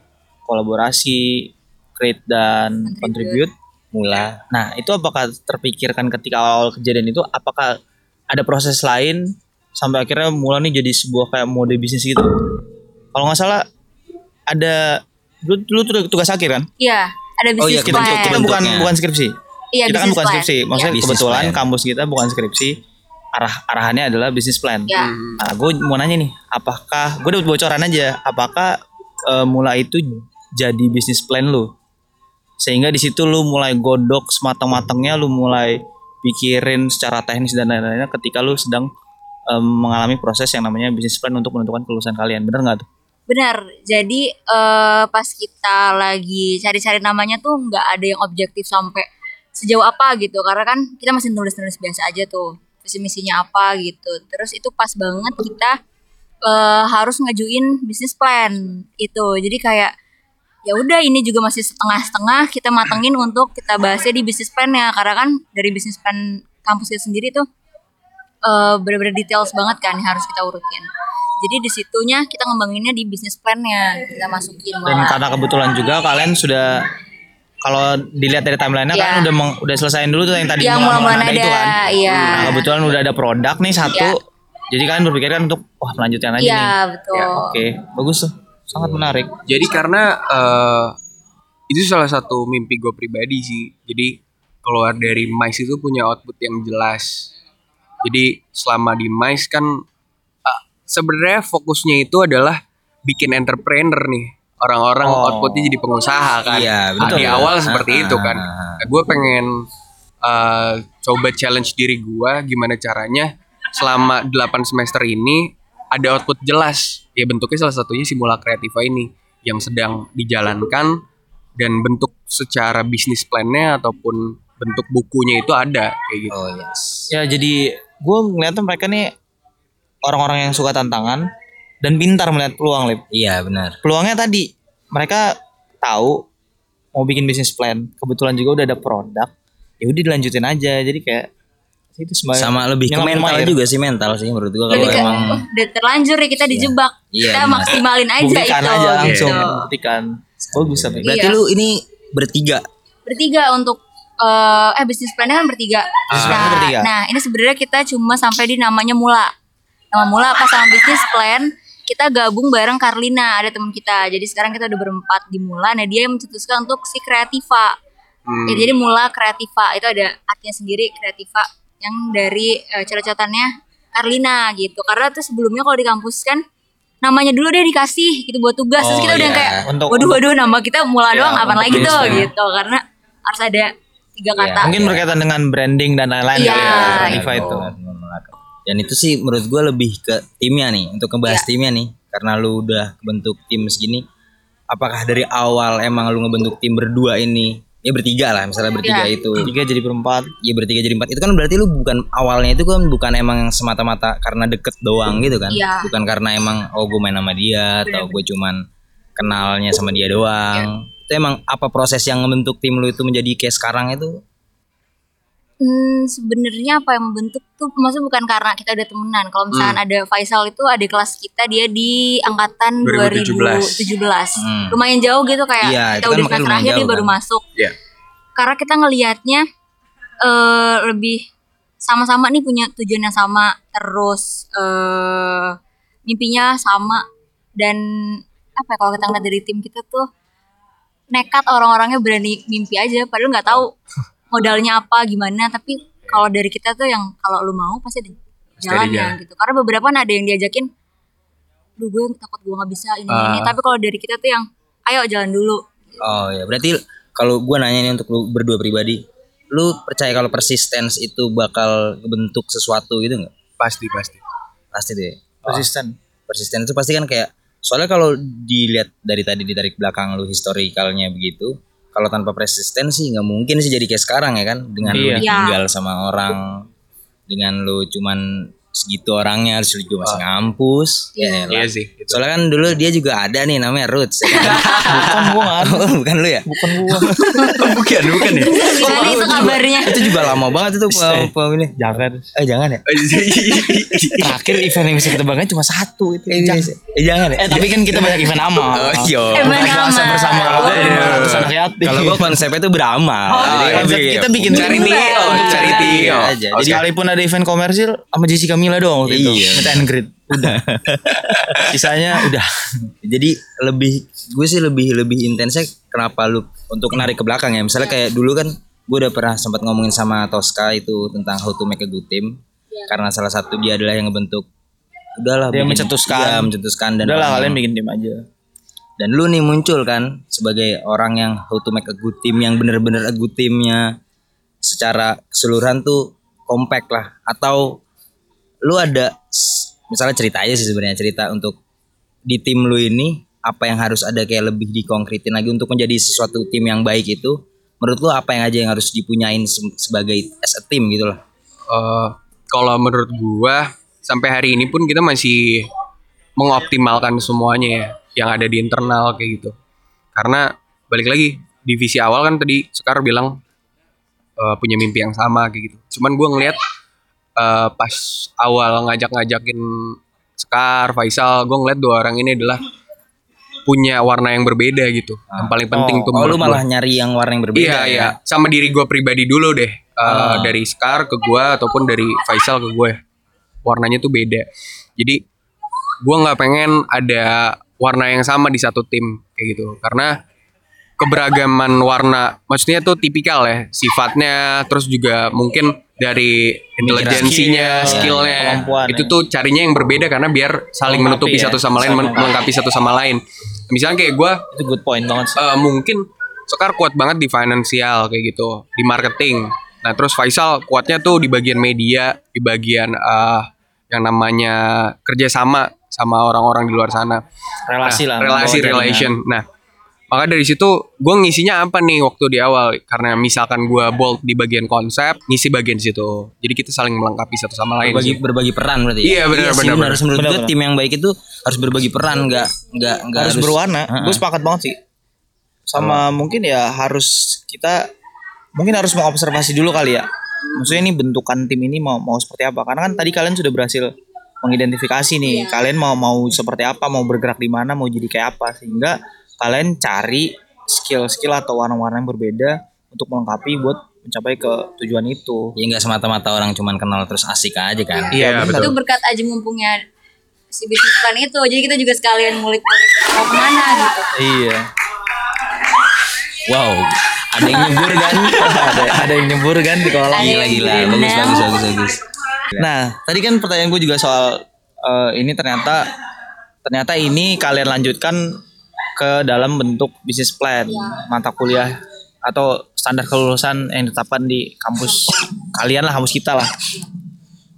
S3: kolaborasi, create dan contribute.
S2: Mula.
S3: Nah, itu apakah terpikirkan ketika awal kejadian itu apakah ada proses lain sampai akhirnya mulai nih jadi sebuah kayak mode bisnis gitu? Kalau nggak salah ada lu, lu tuh tugas akhir kan?
S4: Iya, ada
S2: Oh iya,
S4: bisnis
S2: kita-
S4: plan.
S2: kita-
S3: Kita bukan
S2: Bentuknya.
S3: bukan skripsi.
S4: Iya,
S3: kita kan
S4: bisnis
S3: bukan
S4: plan.
S3: skripsi. Maksudnya
S2: Bisnis
S3: kebetulan
S2: plan.
S3: kampus kita bukan skripsi. Arah arahannya adalah bisnis plan.
S4: Iya.
S5: Hmm.
S3: Nah, gue mau nanya nih, apakah gue dapat bocoran aja, apakah eh, mulai itu jadi bisnis plan lu? Sehingga di situ lu mulai godok sematang-matangnya, lu mulai pikirin secara teknis dan lain-lainnya ketika lu sedang eh, mengalami proses yang namanya bisnis plan untuk menentukan kelulusan kalian. Bener nggak tuh?
S4: Benar. Jadi eh, pas kita lagi cari-cari namanya tuh nggak ada yang objektif sampai sejauh apa gitu. Karena kan kita masih nulis-nulis biasa aja tuh. Visi misinya apa gitu. Terus itu pas banget kita eh, harus ngajuin bisnis plan itu. Jadi kayak ya udah ini juga masih setengah-setengah kita matengin untuk kita bahasnya di bisnis plan ya. Karena kan dari bisnis plan kampus kita sendiri tuh eh bener-bener details banget kan yang harus kita urutin. Jadi disitunya kita ngembanginnya di bisnis plannya kita masukin
S3: dan
S4: malah.
S3: karena kebetulan juga kalian sudah kalau dilihat dari timelinenya
S4: Iya.
S3: kan udah meng- udah selesaiin dulu tuh yang tadi
S4: Yang
S3: mula-mula
S4: mula-mula
S3: itu
S4: ada,
S3: kan
S4: iya.
S3: nah, kebetulan udah ada produk nih satu
S4: Iya.
S3: jadi kalian berpikir kan untuk wah melanjutkan aja
S4: Iya
S3: nih
S4: betul.
S3: oke bagus tuh sangat
S2: Oh.
S3: menarik
S5: Jadi karena eh, itu salah satu mimpi gue pribadi sih. Jadi keluar dari MICE itu punya output yang jelas. Jadi selama di MICE kan ah, sebenarnya fokusnya itu adalah bikin entrepreneur nih. Orang-orang
S3: Oh.
S5: outputnya jadi pengusaha kan.
S2: Iya,
S5: Ah,
S2: betul.
S5: Di awal seperti
S2: Ah,
S5: itu kan.
S2: ah, ah.
S5: gue pengen eh, coba challenge diri gue gimana caranya selama 8 semester ini ada output jelas ya bentuknya salah satunya simula kreativa ini yang sedang dijalankan dan bentuk secara bisnis plannya ataupun bentuk bukunya itu ada kayak gitu
S2: Oh yes.
S3: ya jadi gue ngeliatnya mereka nih orang-orang yang suka tantangan dan pintar melihat peluang lip
S2: Iya benar.
S3: peluangnya tadi mereka tahu mau bikin bisnis plan kebetulan juga udah ada produk ya udah dilanjutin aja jadi kayak itu sebagai
S2: Sama lebih ke
S3: nyelam
S2: mental
S3: air.
S2: juga sih mental sih menurut gua kalau
S4: Lebih ke oh,
S2: emang
S4: udah terlanjur ya kita dijebak.
S2: Iya,
S4: kita
S2: benar.
S4: maksimalin aja
S3: buktikan
S4: itu.
S3: aja
S4: gitu.
S3: langsung buktikan bagus tapi
S2: berarti
S4: Iya.
S2: lu ini bertiga.
S4: bertiga untuk eh eh bisnis plannya kan bertiga.
S3: Ah. Bisnis plannya
S4: Nah,
S3: bertiga.
S4: Nah, ini sebenarnya kita cuma sampai di namanya mula. Nama mula pas sama bisnis plan kita gabung bareng Karlina ada teman kita. Jadi sekarang kita udah berempat di mula. Nah dia yang mencetuskan untuk si kreativa.
S3: Hmm.
S4: Ya, jadi mula kreativa itu ada artinya sendiri kreativa yang dari eh, coret-coretannya Karlina gitu. Karena tuh sebelumnya kalau di kampus kan namanya dulu deh dikasih gitu buat tugas terus
S2: Oh,
S4: kita udah yang
S2: iya.
S4: kayak
S3: Untuk-
S4: waduh waduh nama kita mula doang apaan
S2: untuk
S4: lagi
S2: bisnis
S4: tuh
S2: plan.
S4: gitu karena harus ada tiga
S2: Ya,
S4: kata
S3: mungkin berkaitan dengan branding dan lain-lain
S4: Iya,
S3: kali ya, Spotify
S2: Benar,
S3: itu
S2: benar, benar. kan, Dan itu sih menurut gua lebih ke timnya nih untuk
S4: Iya.
S2: ngebahas timnya nih karena lu udah bentuk tim segini. Apakah dari awal emang lu ngebentuk tim berdua ini? Ya bertiga lah misalnya bertiga
S4: Iya.
S2: itu.
S3: tiga jadi berempat
S2: Ya bertiga jadi empat. Itu kan berarti lu bukan awalnya itu kan bukan emang yang semata-mata karena deket doang gitu kan.
S4: Iya.
S2: Bukan karena emang oh gue main sama dia atau gue cuman kenalnya sama dia doang.
S4: Iya.
S2: Itu emang apa proses yang ngebentuk tim lu itu menjadi kayak sekarang itu?
S4: hmm, sebenarnya apa yang membentuk tuh maksudnya bukan karena kita udah temenan kalau
S2: Hmm.
S4: misalnya ada Faisal itu ada kelas kita dia di angkatan
S5: 2017.
S4: 2017,
S2: Hmm.
S4: lumayan jauh gitu kayak
S2: Iya, itu kan
S4: kita udah
S2: makanya
S4: semester
S2: lumayan
S4: terakhir dia
S2: jauh
S4: baru
S2: kan.
S4: masuk
S5: Iya.
S4: karena kita ngelihatnya eh lebih sama-sama nih punya tujuan yang sama terus eh mimpinya sama dan apa ya, kalau kita ngeliat dari tim kita tuh nekat orang-orangnya berani mimpi aja padahal nggak tahu modalnya apa gimana tapi kalau dari kita tuh yang kalau lu mau pasti ada
S5: ada
S4: jalannya
S5: jalan.
S4: gitu karena beberapa kan ada yang diajakin lu gue takut gue nggak bisa ini ini
S5: Ah.
S4: tapi kalau dari kita tuh yang ayo jalan dulu
S2: Oh ya berarti kalau gue nanya nih untuk lu berdua pribadi, lu percaya kalau persistence itu bakal bentuk sesuatu gitu nggak?
S5: pasti pasti
S2: Pasti deh.
S3: persisten
S2: Persisten itu pasti kan kayak soalnya kalau dilihat dari tadi ditarik belakang lu historikalnya begitu, kalau tanpa persisten sih nggak mungkin sih jadi kayak sekarang ya kan dengan lu
S3: Iya.
S2: ditinggal sama orang, dengan lu cuman segitu orangnya harus lu juga masih ngampus. Ya, elah.
S5: iya sih itu.
S2: Soalnya kan dulu dia juga ada nih namanya Roots. ya kan?
S3: bukan gua nggak ada.
S2: Bukan lu ya?
S3: bukan gua
S5: bukan bukan ya
S4: gimana itu kabarnya
S2: itu juga lama banget itu pem- pem- ini.
S3: jangan
S2: Eh jangan ya.
S3: terakhir event yang bisa kita banggain cuma satu itu
S2: Eh, Oh, jangan. Eh jangan ya.
S3: eh tapi kan kita banyak event amal
S2: Yo.
S4: Emang
S3: Puasa
S4: aman.
S3: bersama Allah
S5: Iya.
S3: lima ratus anak yatim
S2: Kalau gua konsepnya tuh beramal. Jadi kan
S3: konsep
S5: iya.
S2: lebih-
S3: Ah, kita bikin
S5: cari Tio
S3: Untuk
S5: cari Tio
S2: aja.
S3: Jadi sekalipun ada event komersil sama Jessica Mila doang waktu itu.
S2: Iya.
S3: Meet and greet. Udah. Sisanya udah.
S2: Jadi lebih gue sih lebih lebih intensnya kenapa lu untuk narik ke belakang ya.
S3: Iya.
S2: Misalnya kayak dulu kan gue udah pernah sempat ngomongin sama Tosca itu tentang how to make a good team. Karena salah satu dia adalah yang ngebentuk udahlah
S3: Iya. Dia
S2: bikin-
S3: mencetuskan.
S2: Iya, mencetuskan dan
S3: Udah lah
S2: orang-
S3: kalian bikin tim aja.
S2: dan lu nih muncul kan sebagai orang yang how to make a good team yang bener-bener a good teamnya secara keseluruhan tuh compact lah atau lu ada s- misalnya cerita aja sih sebenarnya cerita untuk di tim lu ini apa yang harus ada kayak lebih dikonkretin lagi untuk menjadi sesuatu tim yang baik itu menurut lu apa yang aja yang harus dipunyain se- sebagai as a team gitu lah
S5: Eh, kalau menurut gua sampai hari ini pun kita masih mengoptimalkan semuanya ya yang ada di internal kayak gitu. Karena balik lagi divisi awal kan tadi Sekar bilang eh, punya mimpi yang sama kayak gitu. Cuman gua ngelihat eh, pas awal ngajak-ngajakin Sekar, Faisal, gue ngeliat dua orang ini adalah punya warna yang berbeda gitu. Yang paling penting tuh
S2: Oh,
S5: menurut
S2: lu
S5: gua.
S2: malah nyari yang warna yang berbeda
S5: Iya iya, sama diri gue pribadi dulu deh. Eh, Dari Scar ke gue ataupun dari Faisal ke gue, warnanya tuh beda. Jadi gue nggak pengen ada warna yang sama di satu tim kayak gitu, karena keberagaman warna, maksudnya tuh tipikal ya sifatnya, terus juga mungkin dari intelijensinya, skillnya,
S3: kemampuan
S5: itu tuh carinya yang berbeda karena biar saling menutupi
S3: ya,
S5: satu sama lain, men- melengkapi satu sama lain. Misalnya kayak gue
S3: itu good point banget sih.
S5: Eh, mungkin Sekar kuat banget di finansial kayak gitu, di marketing. Nah, terus Faisal kuatnya tuh di bagian media, di bagian eh, yang namanya kerjasama sama orang-orang di luar sana.
S3: Relasi
S5: Nah,
S3: lah. ya.
S5: Relasi,
S3: membawa jaringan.
S5: relation. Nah, maka dari situ gue ngisinya apa nih waktu di awal? Karena misalkan gue bold di bagian konsep, ngisi bagian situ. Jadi kita saling melengkapi satu sama lain.
S2: berbagi
S5: Iya sih.
S2: berbagi peran berarti ya?
S5: Iya, benar,
S2: sih,
S5: benar,
S2: benar.
S5: benar.
S2: harus menurut gue tim yang baik itu harus berbagi peran nggak nggak nggak
S3: harus berwarna. Gue sepakat banget sih. Sama mungkin ya harus kita mungkin harus mengobservasi dulu kali ya. Maksudnya ini bentukan tim ini mau mau seperti apa? Karena kan tadi kalian sudah berhasil mengidentifikasi nih. Kalian mau mau seperti apa? Mau bergerak di mana? Mau jadi kayak apa? Sehingga kalian cari skill-skill atau warna-warna yang berbeda untuk melengkapi buat mencapai ke tujuan itu.
S2: ya nggak semata-mata orang cuman kenal terus asik aja kan
S5: Iya,
S4: itu
S5: betul.
S4: berkat aja mumpungnya si bisnis plan itu jadi kita juga sekalian ngulik-ngulik mau kemana gitu
S3: Iya.
S2: wow ada yang nyebur kan
S3: ada, ada yang nyebur kan di kolam.
S2: gila gila bagus bagus bagus bagus
S3: Nah, tadi kan pertanyaan gue juga soal eh, ini ternyata ternyata ini kalian lanjutkan ke dalam bentuk bisnis plan mata kuliah atau standar kelulusan yang ditetapkan di kampus kalian lah kampus kita lah.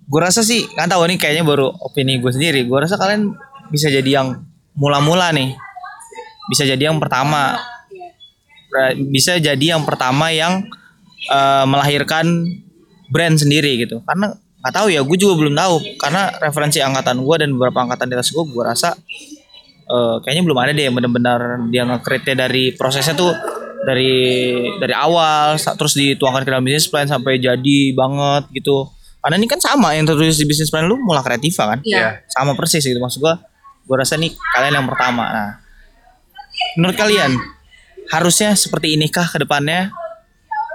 S3: Gue rasa sih nggak tahu ini kayaknya baru opini gue sendiri. Gue rasa kalian bisa jadi yang mula-mula nih, bisa jadi yang pertama, Ra- bisa jadi yang pertama yang eh, melahirkan brand sendiri gitu karena nggak tahu ya gue juga belum tahu karena referensi angkatan gue dan beberapa angkatan di atas gue gue rasa eh, kayaknya belum ada deh yang benar-benar dia nge dari prosesnya tuh dari dari awal sa- terus dituangkan ke dalam bisnis plan sampai jadi banget gitu karena ini kan sama yang tertulis di bisnis plan lu mulai kreativa kan
S4: Iya.
S3: sama persis gitu maksud gue gue rasa nih kalian yang pertama nah menurut kalian harusnya seperti inikah ke depannya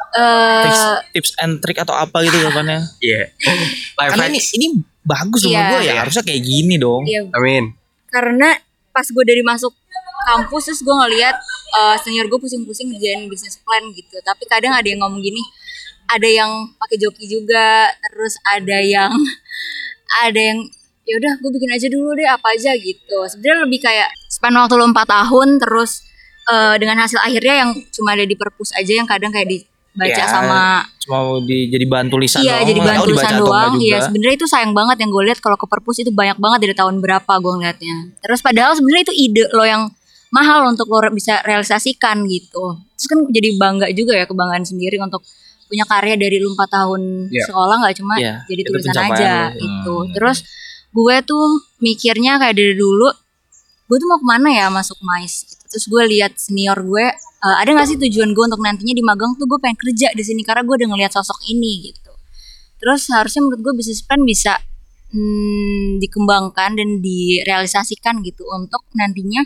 S4: Eh,
S3: tips, tips and trick atau apa gitu depannya
S5: Iya. Life
S3: karena ini
S5: hacks.
S3: ini bagus
S4: Iya.
S3: menurut gue ya harusnya kayak gini dong
S4: iya.
S5: Amin.
S4: karena pas gue dari masuk kampus terus gue ngeliat eh, senior gue pusing-pusing ngerjain bisnis plan gitu tapi kadang ada yang ngomong gini ada yang pakai joki juga terus ada yang ada yang ya udah gue bikin aja dulu deh apa aja gitu sebenarnya lebih kayak span waktu lo 4 tahun terus eh, dengan hasil akhirnya yang cuma ada di perpus aja yang kadang kayak dibaca
S3: Ya,
S4: sama
S3: cuma mau di, jadi bahan tulisan
S4: Iya
S3: doang
S4: jadi
S3: nggak
S4: bahan
S3: tahu
S4: tulisan
S3: dibaca atau
S4: doang.
S3: nggak
S4: Iya
S3: juga.
S4: sebenarnya itu sayang banget yang gue lihat kalau ke perpus itu banyak banget dari tahun berapa gue ngeliatnya. Terus padahal sebenarnya itu ide lo yang mahal untuk lo re- bisa realisasikan gitu. Terus kan jadi bangga juga ya kebanggaan sendiri untuk punya karya dari lu 4 tahun
S5: Iya.
S4: sekolah nggak cuma
S3: Iya,
S4: jadi
S3: itu
S4: tulisan
S3: pencapaian Hmm.
S4: aja
S3: lo.
S4: gitu. Terus gue tuh mikirnya kayak dari dulu gue tuh mau kemana ya masuk mais gitu. terus gue lihat senior gue eh, ada gak sih tujuan gue untuk nantinya di magang tuh gue pengen kerja di sini karena gue udah ngelihat sosok ini gitu terus harusnya menurut gue bisnis plan bisa hmm, dikembangkan dan direalisasikan gitu untuk nantinya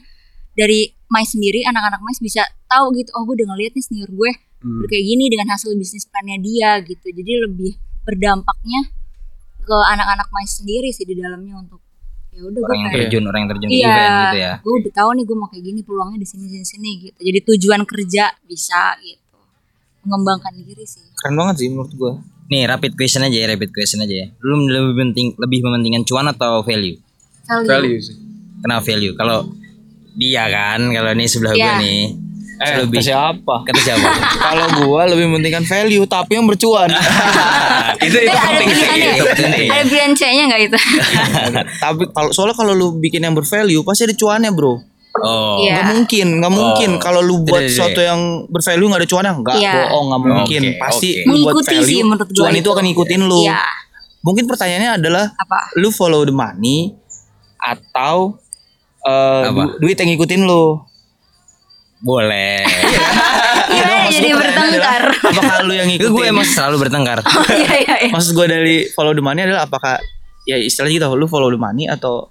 S4: dari mais sendiri anak-anak mais bisa tahu gitu oh gue udah ngeliat nih senior gue
S2: Hmm.
S4: udah kayak gini dengan hasil bisnis plannya dia gitu jadi lebih berdampaknya ke anak-anak mais sendiri sih di dalamnya untuk ya udah gue
S2: orang yang
S4: pengen-
S2: terjun orang yang terjun di
S4: Iya,
S2: event gitu ya
S4: gue udah tahu nih gue mau kayak gini peluangnya di sini sini sini gitu. Jadi tujuan kerja bisa gitu, mengembangkan diri sih.
S3: keren banget sih menurut gue
S2: nih rapid question aja ya rapid question aja ya lu lebih penting lebih mementingkan cuan atau value
S4: Value.
S5: Values.
S2: kenal value kalau dia kan kalau ini sebelah gua
S4: Iya.
S2: nih
S3: eh,
S2: lebih
S3: ke siapa
S2: kata siapa
S3: kalau gue lebih mementingkan value tapi yang bercuan
S5: Itu
S4: Eh,
S5: itu
S4: ada
S5: penting sih.
S4: pilihannya,
S5: Itu penting.
S4: ada pilihan C-nya nggak gitu? itu?
S3: tapi kalau soalnya kalau lu bikin yang bervalue pasti ada cuannya
S2: oh
S3: bro
S4: Iya.
S3: nggak mungkin nggak mungkin kalau lu
S2: Iya,
S3: buat
S2: iya,
S3: sesuatu yang bervalue nggak ada cuannya nggak
S4: Iya.
S3: bohong nggak mungkin
S2: Oke,
S3: pasti
S2: oke.
S3: lu buat
S4: Mengikuti sih
S3: value
S4: menurut gua
S3: cuan itu
S4: itu.
S3: akan ngikutin lu
S4: Iya.
S3: mungkin pertanyaannya adalah
S4: Apa?
S3: lu follow the money atau
S2: Apa?
S3: eh, du- duit yang ngikutin lu
S2: boleh
S3: Iya,
S4: Gimana Iya, jadi bertengkar?
S3: apakah lu yang ngikutin
S2: gue emang selalu bertengkar
S4: Iya iya iya.
S3: maksud gue dari follow the money adalah apakah ya istilahnya gitu lu follow the money atau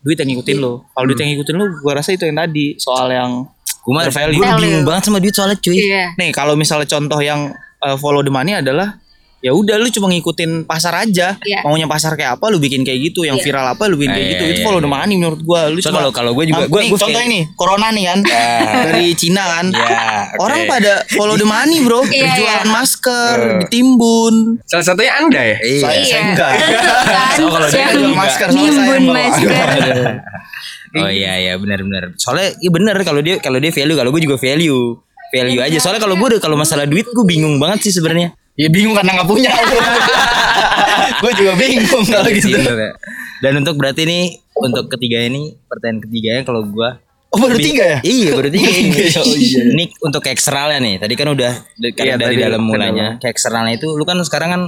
S3: duit yang ngikutin lo kalau duit yang ngikutin lo gua rasa itu yang tadi soal yang
S2: Gua mah
S3: Bervalue.
S2: gua bingung banget sama duit soalnya cuy.
S4: Iya.
S3: nih kalau misalnya contoh yang eh, follow the money adalah ya udah lu cuma ngikutin pasar aja
S4: Iya.
S3: maunya pasar kayak apa lu bikin kayak gitu
S4: Ya.
S3: yang viral apa lu
S2: Nah,
S3: bikin kayak
S2: iya,
S3: gitu itu
S2: iya,
S3: follow the money menurut gua lu
S2: So,
S3: cuma
S2: kalau- kalau gua juga-
S3: Am-
S2: gua-
S3: nih,
S2: gua
S3: contoh
S2: kayak-
S3: ini corona nih kan dari Cina kan
S2: Ya, oke.
S3: orang pada follow the money bro
S4: Iya,
S3: jualan
S4: iya.
S3: masker ditimbun
S5: Salah satunya Anda ya?
S2: Iya.
S3: Saya- saya enggak.
S4: Tentu
S2: So, kalau dia
S4: kan.
S2: jual
S4: Yang
S3: masker, soalnya saya
S4: nimbun
S3: yang bawa.
S4: masker.
S2: Oh iya iya benar-benar. Soalnya iya benar kalau dia kalau dia value kalau gue juga value value aja. Soalnya kalau gue udah kalau masalah duit gue bingung banget sih sebenarnya.
S3: ya bingung karena nggak punya gue juga bingung kalau gitu
S2: Gitu, Kak. Dan untuk berarti nih untuk ketiga ini pertanyaan ketiganya kalau gue
S3: oh baru tiga ya
S2: Iya berarti
S3: Iya, oh iya.
S2: Nik untuk ke eksternalnya nih Tadi kan udah d-
S3: Iya,
S2: dari
S3: tadi
S2: dalam
S3: kan
S2: mulanya Ke eksternalnya itu Lu kan sekarang kan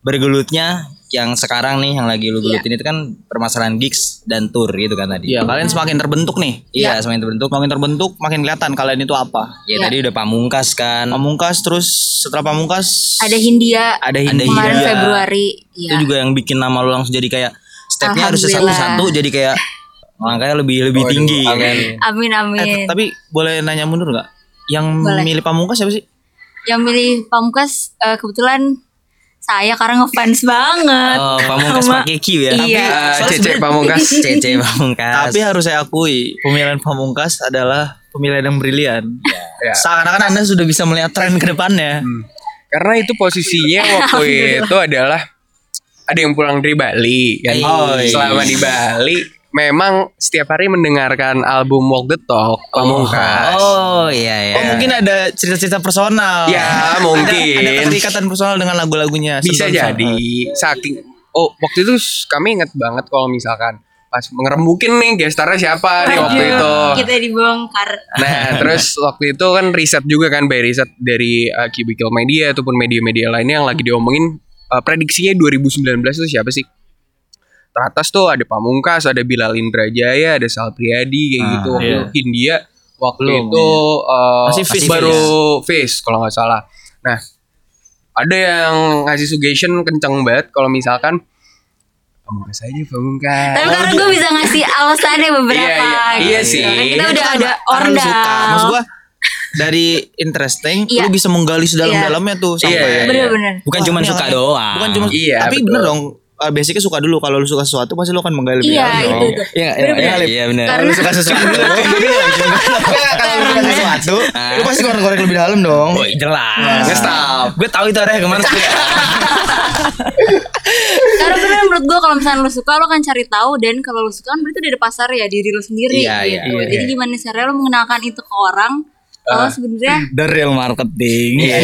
S2: bergelutnya Yang sekarang nih Yang lagi lu gelutin itu kan Permasalahan gigs dan tour gitu kan tadi
S3: Iya kalian semakin terbentuk nih
S2: Iya semakin terbentuk
S3: makin terbentuk makin kelihatan kalian itu apa
S4: Iya.
S2: Ya tadi udah pamungkas kan
S3: pamungkas terus setelah pamungkas
S4: Ada Hindia.
S3: ada
S2: Ada
S3: Hindia
S4: Kemarin
S2: Hindia.
S4: Februari. Iya.
S2: Itu juga yang bikin nama lu langsung jadi kayak Stepnya harus
S4: Alhamdulillah.
S2: satu-satu Jadi kayak Langkahnya lebih lebih
S3: Iya,
S2: tinggi kan
S4: Amin
S3: Eh,
S4: amin.
S3: tapi boleh nanya mundur nggak yang
S4: Boleh.
S3: milih pamungkas siapa sih
S4: Yang milih Pamungkas eh, kebetulan saya karena ngefans banget.
S2: Oh, pamungkas
S4: sama-
S2: pakai Q ya
S4: Iya.
S5: Ah,
S2: Soalnya
S5: Cece
S2: sebenarnya-
S5: Pamungkas.
S2: Cece pamungkas Oh,
S3: Tapi harus saya akui, pemilihan pamungkas adalah pemilihan yang brilian.
S5: Ya.
S3: Seakan-akan Anda sudah bisa melihat tren ke depannya.
S5: Karena itu posisinya waktu itu adalah ada yang pulang dari Bali. Kan?
S2: Oh, iya.
S5: Selama di Bali memang setiap hari mendengarkan album Walk the Talk Pamungkas.
S2: Oh iya iya.
S3: Oh, mungkin ada cerita-cerita personal.
S5: Ya, mungkin.
S3: Ada keterikatan personal dengan lagu-lagunya.
S5: Bisa
S3: Sentuhan
S5: jadi saking oh waktu itu s- kami inget banget kalau misalkan pas mengerembukin nih gestarnya siapa nih waktu
S4: Aduh,
S5: itu.
S4: Iya. Kita dibongkar.
S5: Nah, terus waktu itu kan riset juga kan by riset dari uh, Cubicle Media ataupun media-media lainnya yang lagi diomongin uh, prediksinya 2019 itu siapa sih? Teratas tuh ada Pamungkas, ada Bilal Indrajaya, ada Sal Priadi kayak gitu. Waktu
S3: iya.
S5: India waktu
S3: Belum, iya.
S5: itu uh,
S3: Masih Fizz,
S5: baru face kalau nggak salah. Nah, ada yang ngasih suggestion kenceng banget kalau misalkan Pamungkas aja Pamungkas.
S3: Nah,
S4: Tapi karena gue bisa ngasih alasannya beberapa.
S5: Iya, iya. Iya
S4: gitu.
S5: sih.
S4: Kan Kita
S3: Itu
S4: udah
S3: kan
S4: ada
S3: karena lu suka. Maksud
S4: ordal.
S3: gua dari interesting,
S4: Iya.
S3: lu bisa menggali sedalam-dalamnya tuh sampai
S5: Iya, iya, iya.
S4: Bener-bener.
S2: Bukan
S3: Wah,
S2: cuma
S3: ini
S2: suka
S3: aneh.
S2: doang.
S3: Bukan cuma
S5: Iya,
S3: tapi
S5: betul.
S3: bener dong. eh, basicnya suka dulu kalau lu suka sesuatu pasti lu akan menggali
S4: Iya,
S3: lebih dalam
S4: itu
S3: dong.
S4: tuh.
S3: Iya, iya,
S4: Bener-bener.
S3: iya, Lip.
S2: Iya benar.
S3: Kalau lu suka sesuatu Enggak, Iya, kalau lu suka sesuatu
S2: Nah.
S3: Lu pasti korek-korek lebih dalam dong
S2: Oh,
S5: Iya.
S2: jelas. Iya.
S5: Stop.
S2: Gue tahu itu orangnya kemana.
S4: Karena bener menurut gue kalau misalnya lu suka lo kan cari tahu dan kalau lu suka kan berarti udah ada pasar ya diri lu sendiri
S2: Iya, iya,
S4: gitu. Jadi gimana caranya lu mengenalkan itu ke orang kalau sebenarnya
S2: The real marketing. Iya.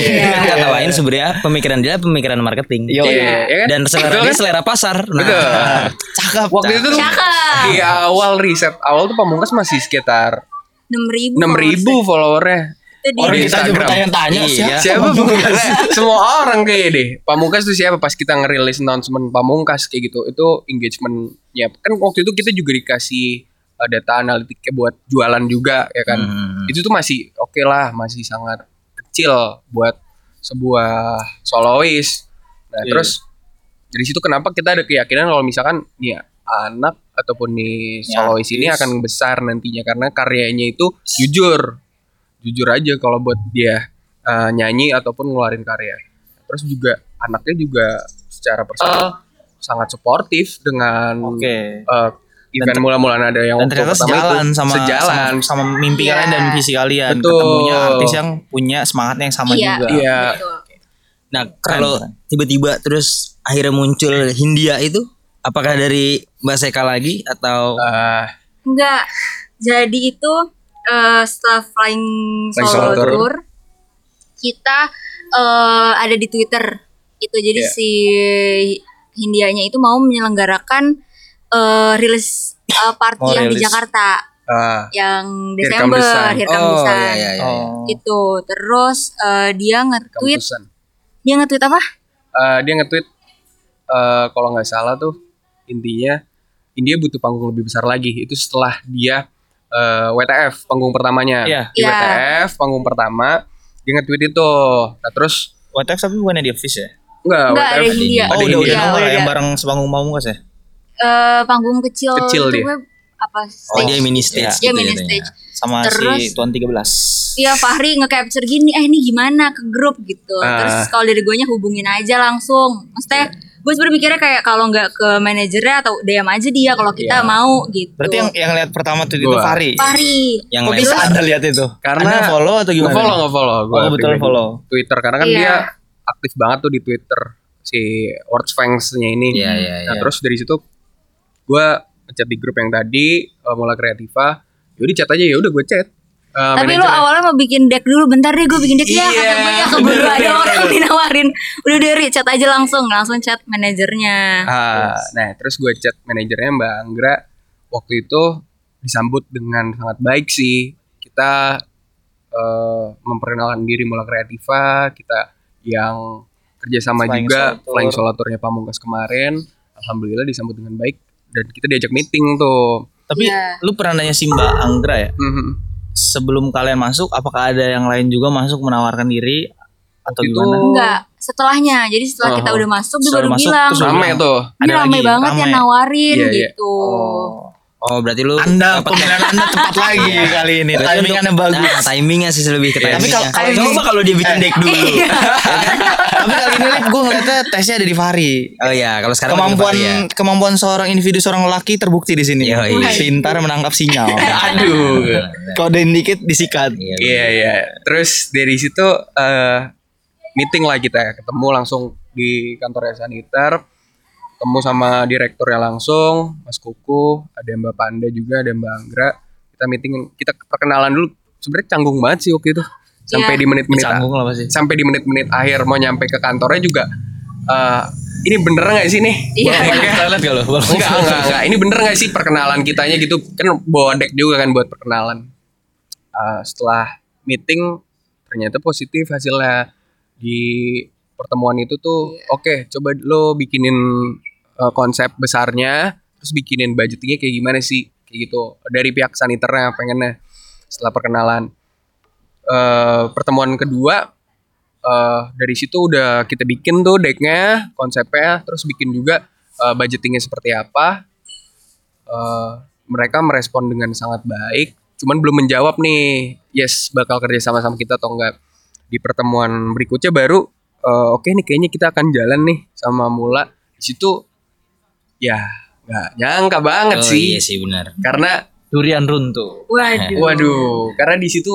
S2: Kata lain sebenarnya pemikiran dia pemikiran marketing.
S3: Iya,
S5: Iya, iya kan?
S2: Dan selera
S5: Betul
S2: dia
S5: kan?
S2: selera pasar. Nah,
S5: Betul.
S3: Cakep
S5: Waktu itu tuh
S4: Cakep.
S5: di awal riset awal tuh Pamungkas masih sekitar
S4: 6.000 ribu.
S5: 6000 followernya.
S4: Itu
S2: iya,
S4: dia.
S5: Orang kita aja
S3: bertanya-tanya
S2: siapa
S5: Siapa Pamungkas? Semua orang kayak deh. Pamungkas tuh siapa pas kita ngerilis announcement Pamungkas kayak gitu. Itu engagementnya kan waktu itu kita juga dikasih uh, data analitiknya buat jualan juga ya kan.
S2: Hmm.
S5: Itu tuh masih oke lah, masih sangat kecil buat sebuah solois. Nah, terus dari situ kenapa kita ada keyakinan kalau misalkan nih ya, anak ataupun nih
S3: Ya,
S5: solois ini akan besar nantinya karena karyanya itu jujur jujur aja kalau buat dia eh, nyanyi ataupun ngeluarin karya. Terus juga anaknya juga secara personal sangat suportif dengan
S3: Eh. Oke.
S5: eh, event mula-mulaan ada yang
S3: Dan
S5: waktu
S3: ternyata
S5: pertama itu
S3: sejalan sama
S5: sejalan.
S3: sama, sama mimpi
S4: Iya.
S3: kalian dan visi kalian.
S5: Betul.
S3: Ketemunya artis yang punya semangatnya yang sama
S4: Iya.
S3: juga.
S5: Iya.
S4: Betul.
S2: Nah, kalau tiba-tiba terus akhirnya muncul Hindia itu apakah dari Mbak Seka lagi atau
S5: Eh,
S4: Enggak. Jadi itu eh, setelah flying
S5: Flying
S4: solo
S5: Solo Tour.
S4: tour kita eh, ada di Twitter. Itu jadi
S5: Iya.
S4: si Hindianya itu mau menyelenggarakan eh, rilis eh, party
S3: Mau
S4: yang di
S3: rilis.
S4: Jakarta
S5: eh,
S4: yang
S5: Here Come
S4: Desember,
S5: the Sun.
S4: Here Come the
S2: Oh,
S4: Sun.
S2: iya, iya, iya.
S3: Oh.
S4: Itu terus eh, dia nge-tweet,
S5: kampusan.
S4: dia nge-tweet apa?
S5: Eh, dia nge-tweet eh, kalau nggak salah tuh intinya India butuh panggung lebih besar lagi. Itu setelah dia eh, WTF panggung pertamanya.
S3: Iya.
S5: Di
S4: Iya.
S5: WTF panggung pertama dia nge-tweet itu. Nah, terus
S3: What if tapi bukannya di office ya?
S5: enggak
S4: Enggak, ada
S5: WTF Ah,
S3: Oh,
S4: Hindia.
S5: Ada
S3: udah udah
S5: Hindia.
S4: Iya,
S3: nongol ya
S4: udah.
S3: yang bareng sebanggung mau ya?
S4: Eh, panggung kecil,
S5: Kecil
S4: itu
S5: dia.
S4: gue- apa
S2: Oh,
S4: stage
S2: dia mini
S3: Iya.
S2: stage
S4: dia
S2: gitu
S4: mini
S2: jatuhnya.
S4: stage
S3: sama si
S4: Terus-
S3: tuan 13
S4: Iya Fahri nge-capture gini Eh ini gimana ke grup gitu
S5: Ah.
S4: Terus kalau dari guanya hubungin aja langsung Maksudnya gue sebenernya mikirnya kayak Kalau nggak ke manajernya atau DM aja dia Kalau kita mau gitu
S3: berarti yang yang lihat pertama tuh itu
S5: Gua.
S3: Fahri
S4: Fahri
S2: Yang
S3: kok
S2: lain
S3: bisa anda lihat itu
S5: Karena-
S3: Anda follow atau gimana
S5: follow nggak follow gue
S3: Oh, kebetulan follow.
S5: Twitter karena kan
S4: Iya.
S5: dia aktif banget tuh di Twitter si Wordsfangs-nya ini
S2: Iya, iya,
S5: nah
S2: iya.
S5: terus dari situ gue ngechat di grup yang tadi eh, mulai kreativa yaudah chat aja yaudah gue chat Eh,
S4: Tapi
S3: ya?
S4: lu
S5: manajernya.
S4: awalnya mau bikin deck dulu Bentar deh gue bikin deck
S5: Iya.
S4: Ya kata gue ya keburu ada orang dinawarin Udah deh Ri, chat aja langsung Langsung chat manajernya
S5: Ah, nah terus gue chat manajernya Mbak Anggra waktu itu disambut dengan sangat baik sih kita eh, memperkenalkan diri mulai kreativa kita yang kerjasama
S3: Flying
S5: juga
S3: Solo Tour.
S5: flying solo tournya Pamungkas kemarin alhamdulillah disambut dengan baik dan kita diajak meeting tuh
S3: tapi
S4: Iya.
S3: lu pernah nanya si Mbak Anggra ya
S5: Mhm.
S3: sebelum kalian masuk apakah ada yang lain juga masuk menawarkan diri atau
S5: Waktu itu
S3: gimana
S4: Enggak setelahnya Jadi setelah kita
S5: Oh.
S4: udah masuk Dia
S3: Setelah
S4: baru
S3: masuk,
S4: bilang
S3: terus
S5: rame tuh
S4: Ini ramai banget yang
S3: rame.
S4: nawarin
S5: Iya, iya.
S4: gitu
S2: Oh, berarti lu
S3: Anda
S2: dapet-
S3: pemilihan Anda tepat lagi kali ini.
S2: berarti lu-
S3: Timing Anda bagus.
S2: Nah, timingnya sih lebih ke timingnya.
S3: Tapi kalau- kalau- Iya.
S2: coba kalau dia bikin deck dulu.
S3: Tapi kali ini gue ngeliatnya tesnya ada di Fahri.
S2: Oh iya, kalau sekarang
S3: Kemampuan
S2: pakai Varia.
S3: kemampuan seorang individu seorang lelaki terbukti di sini.
S2: Yoi.
S3: Pintar menangkap sinyal.
S5: aduh
S3: Kodein dikit disikat.
S2: Iya.
S5: Iya iya. Terus dari situ eh meeting lah kita ketemu langsung di kantornya Saniter, ketemu sama direkturnya langsung, Mas Kuku, ada Mbak Panda juga, ada Mbak Anggra. Kita meeting, kita perkenalan dulu. Sebenarnya canggung banget sih waktu itu. Sampai di
S4: Iya.
S5: menit-menit
S3: Canggung lah pasti.
S5: sampai di menit-menit akhir mau nyampe ke kantornya juga. eh ini bener nggak sih nih?
S4: Iya.
S5: Boleh nggak?
S3: Toilet gak lo?
S5: Enggak, enggak, enggak. Ini bener gak sih perkenalan kitanya gitu? Kan bawa deck juga kan buat perkenalan. Eh, setelah meeting ternyata positif hasilnya di pertemuan itu tuh oke coba lo bikinin eh, konsep besarnya terus bikinin budgetingnya kayak gimana sih kayak gitu dari pihak saniternya pengennya setelah perkenalan eh pertemuan kedua eh dari situ udah kita bikin tuh decknya konsepnya terus bikin juga eh, budgetingnya seperti apa Eh, mereka merespon dengan sangat baik cuman belum menjawab nih yes bakal kerja sama sama kita atau enggak di pertemuan berikutnya baru eh, oke nih kayaknya kita akan jalan nih sama mula di situ ya nggak nyangka banget
S2: Oh,
S5: sih
S2: iya sih benar.
S5: karena
S3: Durian runtuh.
S4: Waduh
S5: Waduh, karena di situ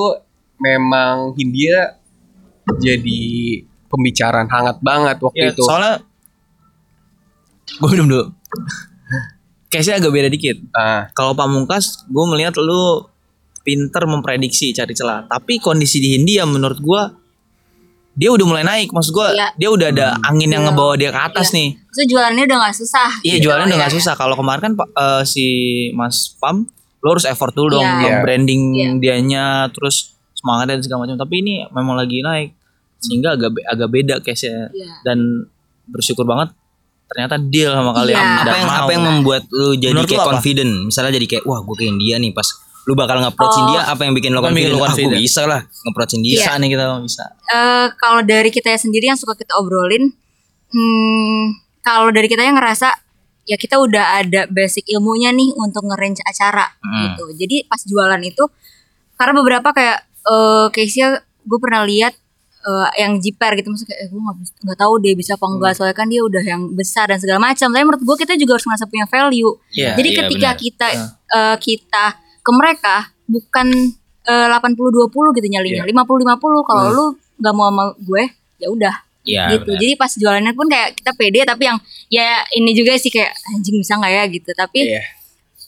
S5: memang Hindia jadi pembicaraan hangat banget waktu
S3: Ya,
S5: itu.
S3: soalnya gue minum dulu. Case-nya agak beda dikit.
S5: Ah,
S3: Kalau pamungkas, gue melihat lu pinter memprediksi cari celah. Tapi kondisi di Hindia menurut gue dia udah mulai naik. Maksud gue
S4: Iya.
S3: dia udah ada angin yang ngebawa dia ke atas nih.
S4: Terus jualannya udah gak susah
S3: Iya
S4: gitu,
S3: jualan udah
S4: ya.
S3: nggak susah. Kalau kemarin kan Pak, eh, si Mas Pam, lo harus effort dulu dong,
S4: Iya.
S3: lo
S5: Iya.
S3: branding
S4: Iya.
S3: dianya, terus semangat dan segala macam. Tapi ini memang lagi naik, sehingga agak be- agak beda case nya
S4: Iya.
S3: Dan bersyukur banget ternyata deal sama kalian.
S4: Iya.
S3: Dan
S2: Apa yang
S3: mau.
S2: apa yang membuat lu jadi
S3: Menurut lu
S2: kayak
S3: apa?
S2: confident? Misalnya jadi kayak wah gue kayak India nih pas lu bakal nge-approachin dia apa yang bikin lu
S3: Oh. Apa yang
S2: confident? Ah,
S3: bikin lu
S2: gue
S3: confident? Iya.
S2: bisa lah nge-approachin
S4: Iya.
S2: dia.
S3: bisa nih kita bisa.
S4: Eh, kalau dari kita sendiri yang suka kita obrolin, hmm, kalau dari kita yang ngerasa ya kita udah ada basic ilmunya nih untuk ngerange acara gitu. Jadi pas jualan itu karena beberapa kayak eh case-nya gue pernah lihat eh, yang jiper gitu maksudnya kayak, eh, gue nggak bis- nggak tahu dia bisa apa enggak soalnya kan dia udah yang besar dan segala macam. Tapi menurut gue kita juga harus ngerasa punya value.
S2: Iya,
S4: Jadi
S2: iya,
S4: ketika
S2: benar.
S4: kita eh, kita ke mereka bukan eh, 80-20 gitu
S2: Iya.
S4: nyalinya 50-50 kalau lu nggak mau sama gue ya udah
S2: Iya,
S4: gitu
S2: benar.
S4: jadi pas jualannya pun kayak kita pede tapi yang ya ini juga sih kayak anjing bisa nggak ya gitu tapi
S5: iya.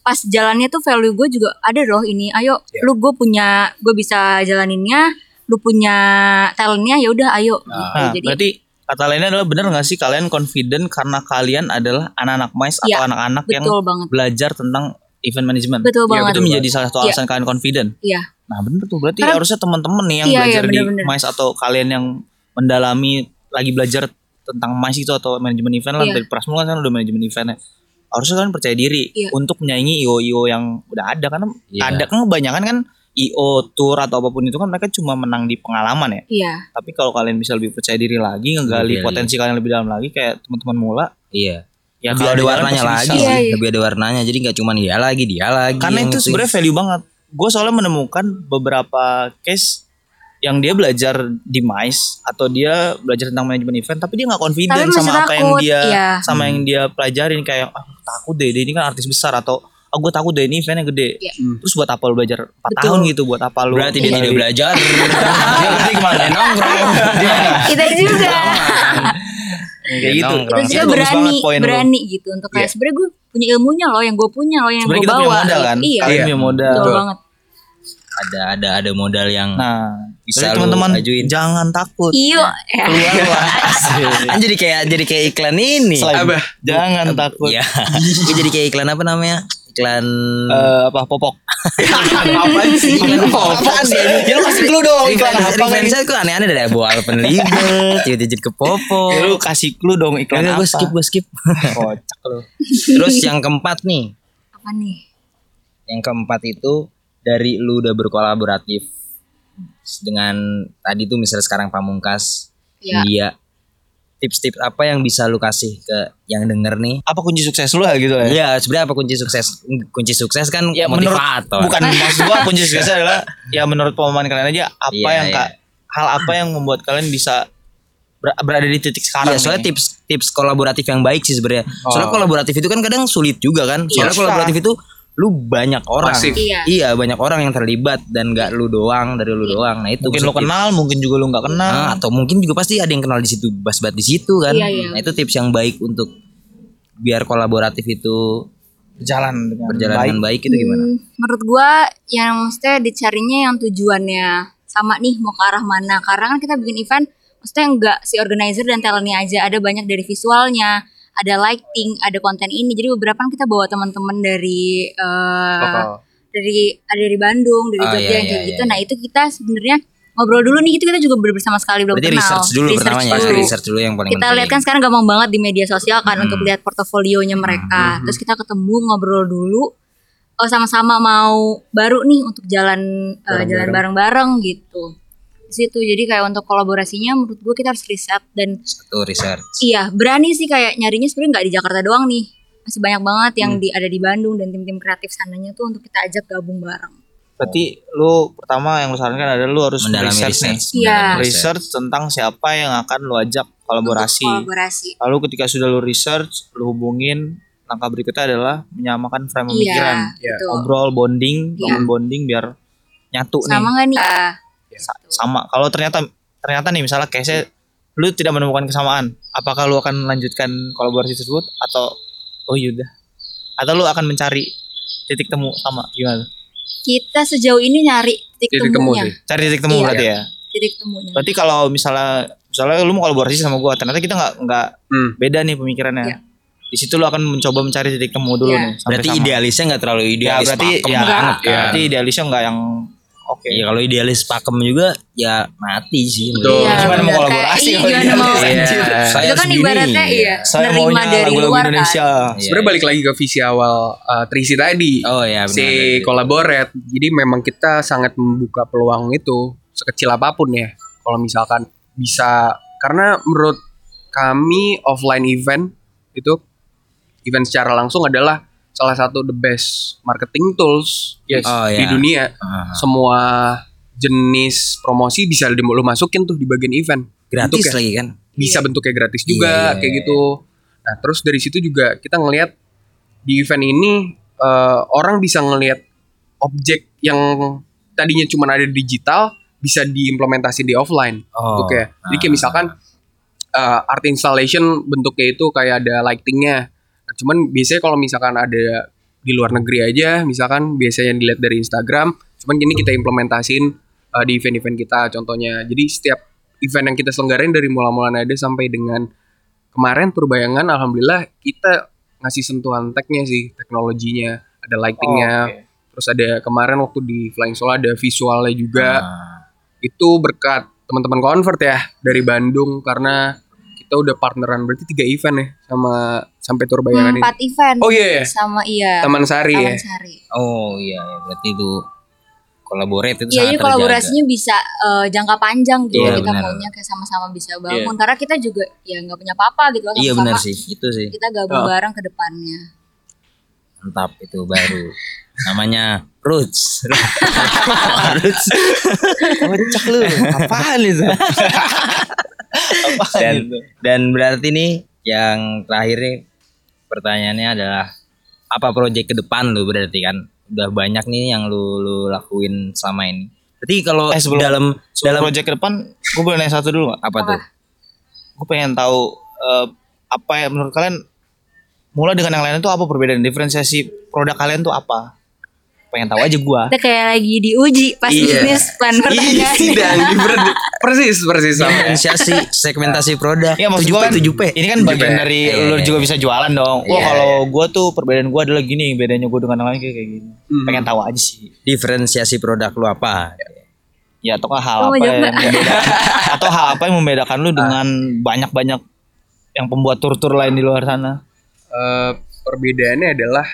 S4: pas jalannya tuh value gue juga ada loh ini ayo
S2: Iya.
S4: lu gue punya gue bisa jalaninnya lu punya talentnya ya udah ayo
S3: Nah,
S2: Ah.
S4: gitu. jadi
S3: berarti kata lainnya adalah benar nggak sih kalian confident karena kalian adalah anak-anak mais
S4: Iya,
S3: atau anak-anak yang
S4: betul banget.
S3: belajar tentang event management.
S4: Betul
S3: Iya,
S4: banget.
S3: Itu menjadi salah satu
S4: Iya.
S3: alasan kalian confident.
S4: iya
S3: Nah bener tuh berarti
S4: Karena-
S3: harusnya teman-teman nih yang
S4: Iya, iya,
S3: belajar di
S4: bener-bener.
S3: MICE atau kalian yang mendalami lagi belajar tentang MICE itu atau manajemen event lah
S4: Iya.
S3: dari Prasmul kan udah manajemen event ya. Harusnya kalian percaya diri
S4: Iya.
S3: untuk menyaingi IO-IO yang udah ada karena
S2: Iya.
S3: ada kan kebanyakan kan IO tour atau apapun itu kan mereka cuma menang di pengalaman ya.
S4: iya
S3: Tapi kalau kalian bisa lebih percaya diri lagi,
S2: Lebih
S3: ngegali
S2: dari-
S3: potensi kalian lebih dalam lagi kayak teman-teman mula,
S2: Iya.
S3: ya
S2: lebih
S3: kalau
S2: ada
S3: di dalam
S2: warnanya
S3: pasti
S2: lagi
S3: bisa.
S2: sih
S4: Iya, iya.
S2: lebih ada warnanya jadi nggak cuman dia lagi dia lagi
S3: karena
S2: yang
S3: itu
S2: ngituin.
S3: sebenarnya value banget gue soalnya menemukan beberapa case yang dia belajar di MICE atau dia belajar tentang manajemen event tapi dia nggak confident
S4: Tapi masih
S3: sama apa yang
S4: takut,
S3: dia
S4: iya.
S3: sama yang dia pelajarin kayak ah takut deh dia ini kan artis besar atau ah gue takut deh ini eventnya gede
S4: Iya.
S3: terus buat apa lu belajar 4
S4: Betul.
S3: tahun gitu buat apa
S2: Hmm.
S3: lu gitu.
S2: berarti dia tidak belajar dia berarti
S5: Ah.
S2: kemana Dia nongkrong Dia
S4: kita juga
S2: Iya.
S3: kayak gitu
S2: nongkrong.
S4: kita
S2: Itu
S4: juga
S3: bagus
S4: berani
S3: banget poin lu.
S4: berani gitu untuk kayak sebenarnya gue punya ilmunya loh yang gue punya loh yang gue
S3: sebenarnya kita punya
S4: bawa
S3: modal kan
S4: iya
S3: kalian
S5: Iya.
S3: punya modal
S4: betul banget
S2: ada ada ada modal yang
S3: nah
S2: Bisa
S3: jadi
S2: lu
S3: teman-teman
S2: ajuin.
S3: jangan takut
S4: iyo
S3: keluar lu
S2: Kan jadi kayak jadi kayak iklan ini
S3: Selain-
S5: Apa?
S3: jangan takut
S2: Iya. Ini jadi kayak iklan apa namanya iklan
S3: Eh, apa popok
S5: apa sih
S2: Apaan Iya, sih?
S3: ya lu kasih clue dong iklan
S2: Revenge-
S3: apa
S2: Revenge kok aneh-aneh dari Abu Alpen Libel, tiba-tiba ke Popo.
S3: Ya, lu kasih clue dong iklan
S2: Enggak,
S3: apa
S2: gue Iya, skip, gue skip.
S3: kocak lu
S2: Terus yang keempat nih,
S4: apa nih
S2: yang keempat itu dari lu udah berkolaboratif dengan tadi tuh misalnya sekarang Pamungkas,
S4: Iya.
S2: India. Tips-tips apa yang bisa lu kasih ke yang denger nih?
S3: apa kunci sukses lu lah gitu ya
S2: Iya, sebenarnya apa kunci sukses? Kunci sukses kan
S3: ya menurut
S2: motivator.
S3: bukan maksud gua kunci suksesnya adalah ya menurut pemahaman kalian aja apa
S2: Iya,
S3: yang
S2: iya.
S3: ka- hal apa yang membuat kalian bisa ber- berada di titik sekarang
S2: Iya, soalnya
S3: nih.
S2: tips tips kolaboratif yang baik sih sebenarnya. Soalnya kolaboratif itu kan kadang sulit juga kan.
S3: Oh. Iya,
S2: Soalnya
S3: susah.
S2: kolaboratif itu lu banyak orang.
S5: Masif.
S4: Iya.
S2: Iya, banyak orang yang terlibat dan gak lu doang dari lu doang. Nah, itu
S3: mungkin lu
S2: maksud tips.
S3: kenal mungkin juga lu nggak kenal
S2: Nah, atau mungkin juga pasti ada yang kenal di situ, bas-bat di situ kan.
S4: Iya, iya.
S2: Nah, itu tips yang baik untuk biar kolaboratif itu
S3: berjalan dengan
S2: berjalan
S3: baik
S2: dengan baik itu gimana?
S4: Hmm, menurut gua yang maksudnya dicarinya yang tujuannya sama nih mau ke arah mana karena kan kita bikin event maksudnya enggak si organizer dan talentnya aja ada banyak dari visualnya ada lighting ada konten ini jadi beberapa kan kita bawa teman-teman dari eh, dari ada dari Bandung dari
S2: Ah,
S4: Jogja
S2: iya,
S4: yang kayak
S2: iya,
S4: gitu
S2: iya.
S4: nah itu kita sebenarnya ngobrol dulu nih itu kita juga ber- bersama sekali belum
S2: Berarti
S4: kenal
S2: research dulu pertamanya, ya.
S4: dulu
S2: research Hmm. dulu yang paling
S4: kita
S2: penting.
S4: lihat kan sekarang gampang banget di media sosial kan untuk lihat portofolionya
S2: Hmm,
S4: mereka. Terus kita ketemu ngobrol dulu oh sama-sama mau baru nih untuk jalan eh, jalan bareng-bareng gitu. Di situ jadi kayak untuk kolaborasinya menurut gue kita harus riset dan
S2: satu research.
S4: iya berani sih kayak nyarinya sebenarnya nggak di Jakarta doang nih. Masih banyak banget yang
S2: Hmm.
S4: di ada di Bandung dan tim-tim kreatif sananya tuh untuk kita ajak gabung bareng.
S3: berarti lu pertama yang lu sarankan adalah lu harus
S2: Mendalami
S3: research, nih
S2: research.
S4: Iya.
S2: mendalami
S3: Nah, research tentang siapa yang akan lu ajak kolaborasi
S4: Untuk kolaborasi.
S3: lalu ketika sudah lu research lu hubungin langkah berikutnya adalah menyamakan frame pemikiran
S4: Iya,
S5: Iya.
S4: betul.
S3: ngobrol bonding
S4: Iya.
S3: bangun bonding biar nyatu
S4: Sama
S3: nih
S4: nggak nih? Ah,
S3: Sa- sama kalau ternyata ternyata nih misalnya case lu tidak menemukan kesamaan apakah lu akan melanjutkan kolaborasi tersebut atau oh yaudah atau lu akan mencari titik temu sama gimana
S4: kita sejauh ini nyari titik,
S5: Titik temu
S4: temunya,
S5: sih.
S3: cari titik temu
S4: Iya.
S3: berarti ya
S4: titik temunya.
S3: berarti kalau misalnya misalnya lu mau kolaborasi sama gua ternyata kita nggak nggak
S5: Hmm.
S3: beda nih pemikirannya
S4: Iya.
S3: di situ lu akan mencoba mencari titik temu dulu
S4: Iya.
S3: nih sampai
S2: Berarti
S3: sama.
S2: idealisnya nggak terlalu
S3: ya
S2: idealis
S3: berarti
S2: pakem
S3: ya,
S2: banget kan.
S3: berarti idealisnya nggak yang oke
S2: Ya kalau idealis pakem juga ya mati sih.
S5: Betul.
S3: Gimana
S4: Iya,
S3: mau
S4: benar.
S3: kolaborasi
S4: Kayak,
S3: kalau
S4: iya, gimana mau
S3: idealis, anjir.
S2: Saya
S4: itu kan
S2: sendiri.
S4: ibaratnya iya
S3: saya
S4: menerima
S3: maunya
S4: dari
S3: lagu-lagu
S4: luar kan.
S3: Indonesia
S2: Iya,
S5: Sebenarnya
S2: iya.
S5: balik lagi ke visi awal eh, Trisi tadi.
S2: Oh ya benar.
S5: si kolaborat. Jadi memang kita sangat membuka peluang itu sekecil apapun ya. Kalau misalkan bisa karena menurut kami offline event itu event secara langsung adalah salah satu the best marketing tools yes
S2: Oh,
S5: di
S2: ya.
S5: dunia.
S2: Ah,
S5: Semua jenis promosi bisa di- lo masukin tuh di bagian event.
S2: gratis
S5: Bentuknya
S2: lagi kan.
S5: bisa bentuknya gratis juga
S2: Iya, iya,
S5: kayak
S2: iya.
S5: gitu. Nah, terus dari situ juga kita ngelihat di event ini eh, orang bisa ngelihat objek yang tadinya cuma ada di digital bisa diimplementasi di offline.
S2: Oh.
S5: Oke. Jadi kayak misalkan eh, art installation bentuknya itu kayak ada lightingnya. Nah, cuman biasanya kalau misalkan ada di luar negeri aja, misalkan biasanya yang dilihat dari Instagram, cuman ini kita implementasin eh, di event-event kita contohnya. Jadi setiap event yang kita selenggarain dari mula-mula nada sampai dengan kemarin perbayangan alhamdulillah kita ngasih sentuhan tag-nya sih, teknologinya, ada
S2: Iya.
S5: lightingnya,
S3: Oh,
S5: terus ada kemarin waktu di Flying Solo ada visualnya juga
S2: Ah.
S5: itu berkat teman-teman convert ya dari Bandung karena kita udah partneran berarti tiga event ya sama sampai tur bayangan ini.
S4: empat event
S5: Oh iya, iya.
S4: sama iya
S5: Taman Sari ya.
S4: Taman Sari
S2: Oh iya ya, berarti itu iya. collaborate itu
S4: Iya,
S2: sangat
S4: jadi
S2: terjaga.
S4: kolaborasinya bisa eh, jangka panjang gitu.
S2: Iya,
S4: kita
S2: benar.
S4: maunya kayak sama-sama bisa bangun. Karena kita juga ya nggak punya apa-apa gitu loh.
S2: Iya
S4: sama-sama
S2: benar sih, itu sih.
S4: Kita gabung bareng ke depannya.
S2: Mantap itu baru. Namanya Roots. Roots.
S3: Kocak Oh, lu. Apaan itu? Apaan
S2: Dan
S3: itu?
S2: dan berarti nih yang terakhir nih pertanyaannya adalah apa proyek ke depan lu berarti kan? Udah banyak nih yang lu, lu lakuin selama ini. Berarti kalau
S3: Eh, sebelum-
S2: dalam
S3: Dalam
S2: dalam
S3: proyek ke depan, gue boleh nanya satu dulu gak?
S2: apa tuh?
S3: Gue pengen tahu eh, apa yang menurut kalian mulai dengan yang lain itu apa perbedaan diferensiasi produk kalian tuh apa? Pengen tahu aja gua.
S4: Kita kayak lagi diuji pas bisnis plan
S5: Iya,
S4: pertanyaannya.
S5: dan diber- persis persis sama.
S2: Diferensiasi segmentasi produk.
S3: Iya
S2: 7P,
S3: maksud gue kan
S2: 7P.
S3: ini kan bagian
S5: 7P.
S3: dari
S2: Iya,
S3: lu
S2: iya,
S3: juga bisa jualan dong.
S2: Iya,
S3: Wah kalau gue tuh perbedaan gue adalah gini, bedanya gue dengan yang lain kayak kayak gini.
S2: Hmm.
S3: Pengen tahu aja sih.
S2: Diferensiasi produk lu apa?
S3: Ya atau nggak hal
S4: Lu mau
S3: apa yang
S4: jawab nggak?
S3: membedakan atau hal apa yang membedakan
S2: Ah.
S3: lu dengan banyak-banyak yang pembuat tur-tur lain di luar sana.
S5: Eh, perbedaannya adalah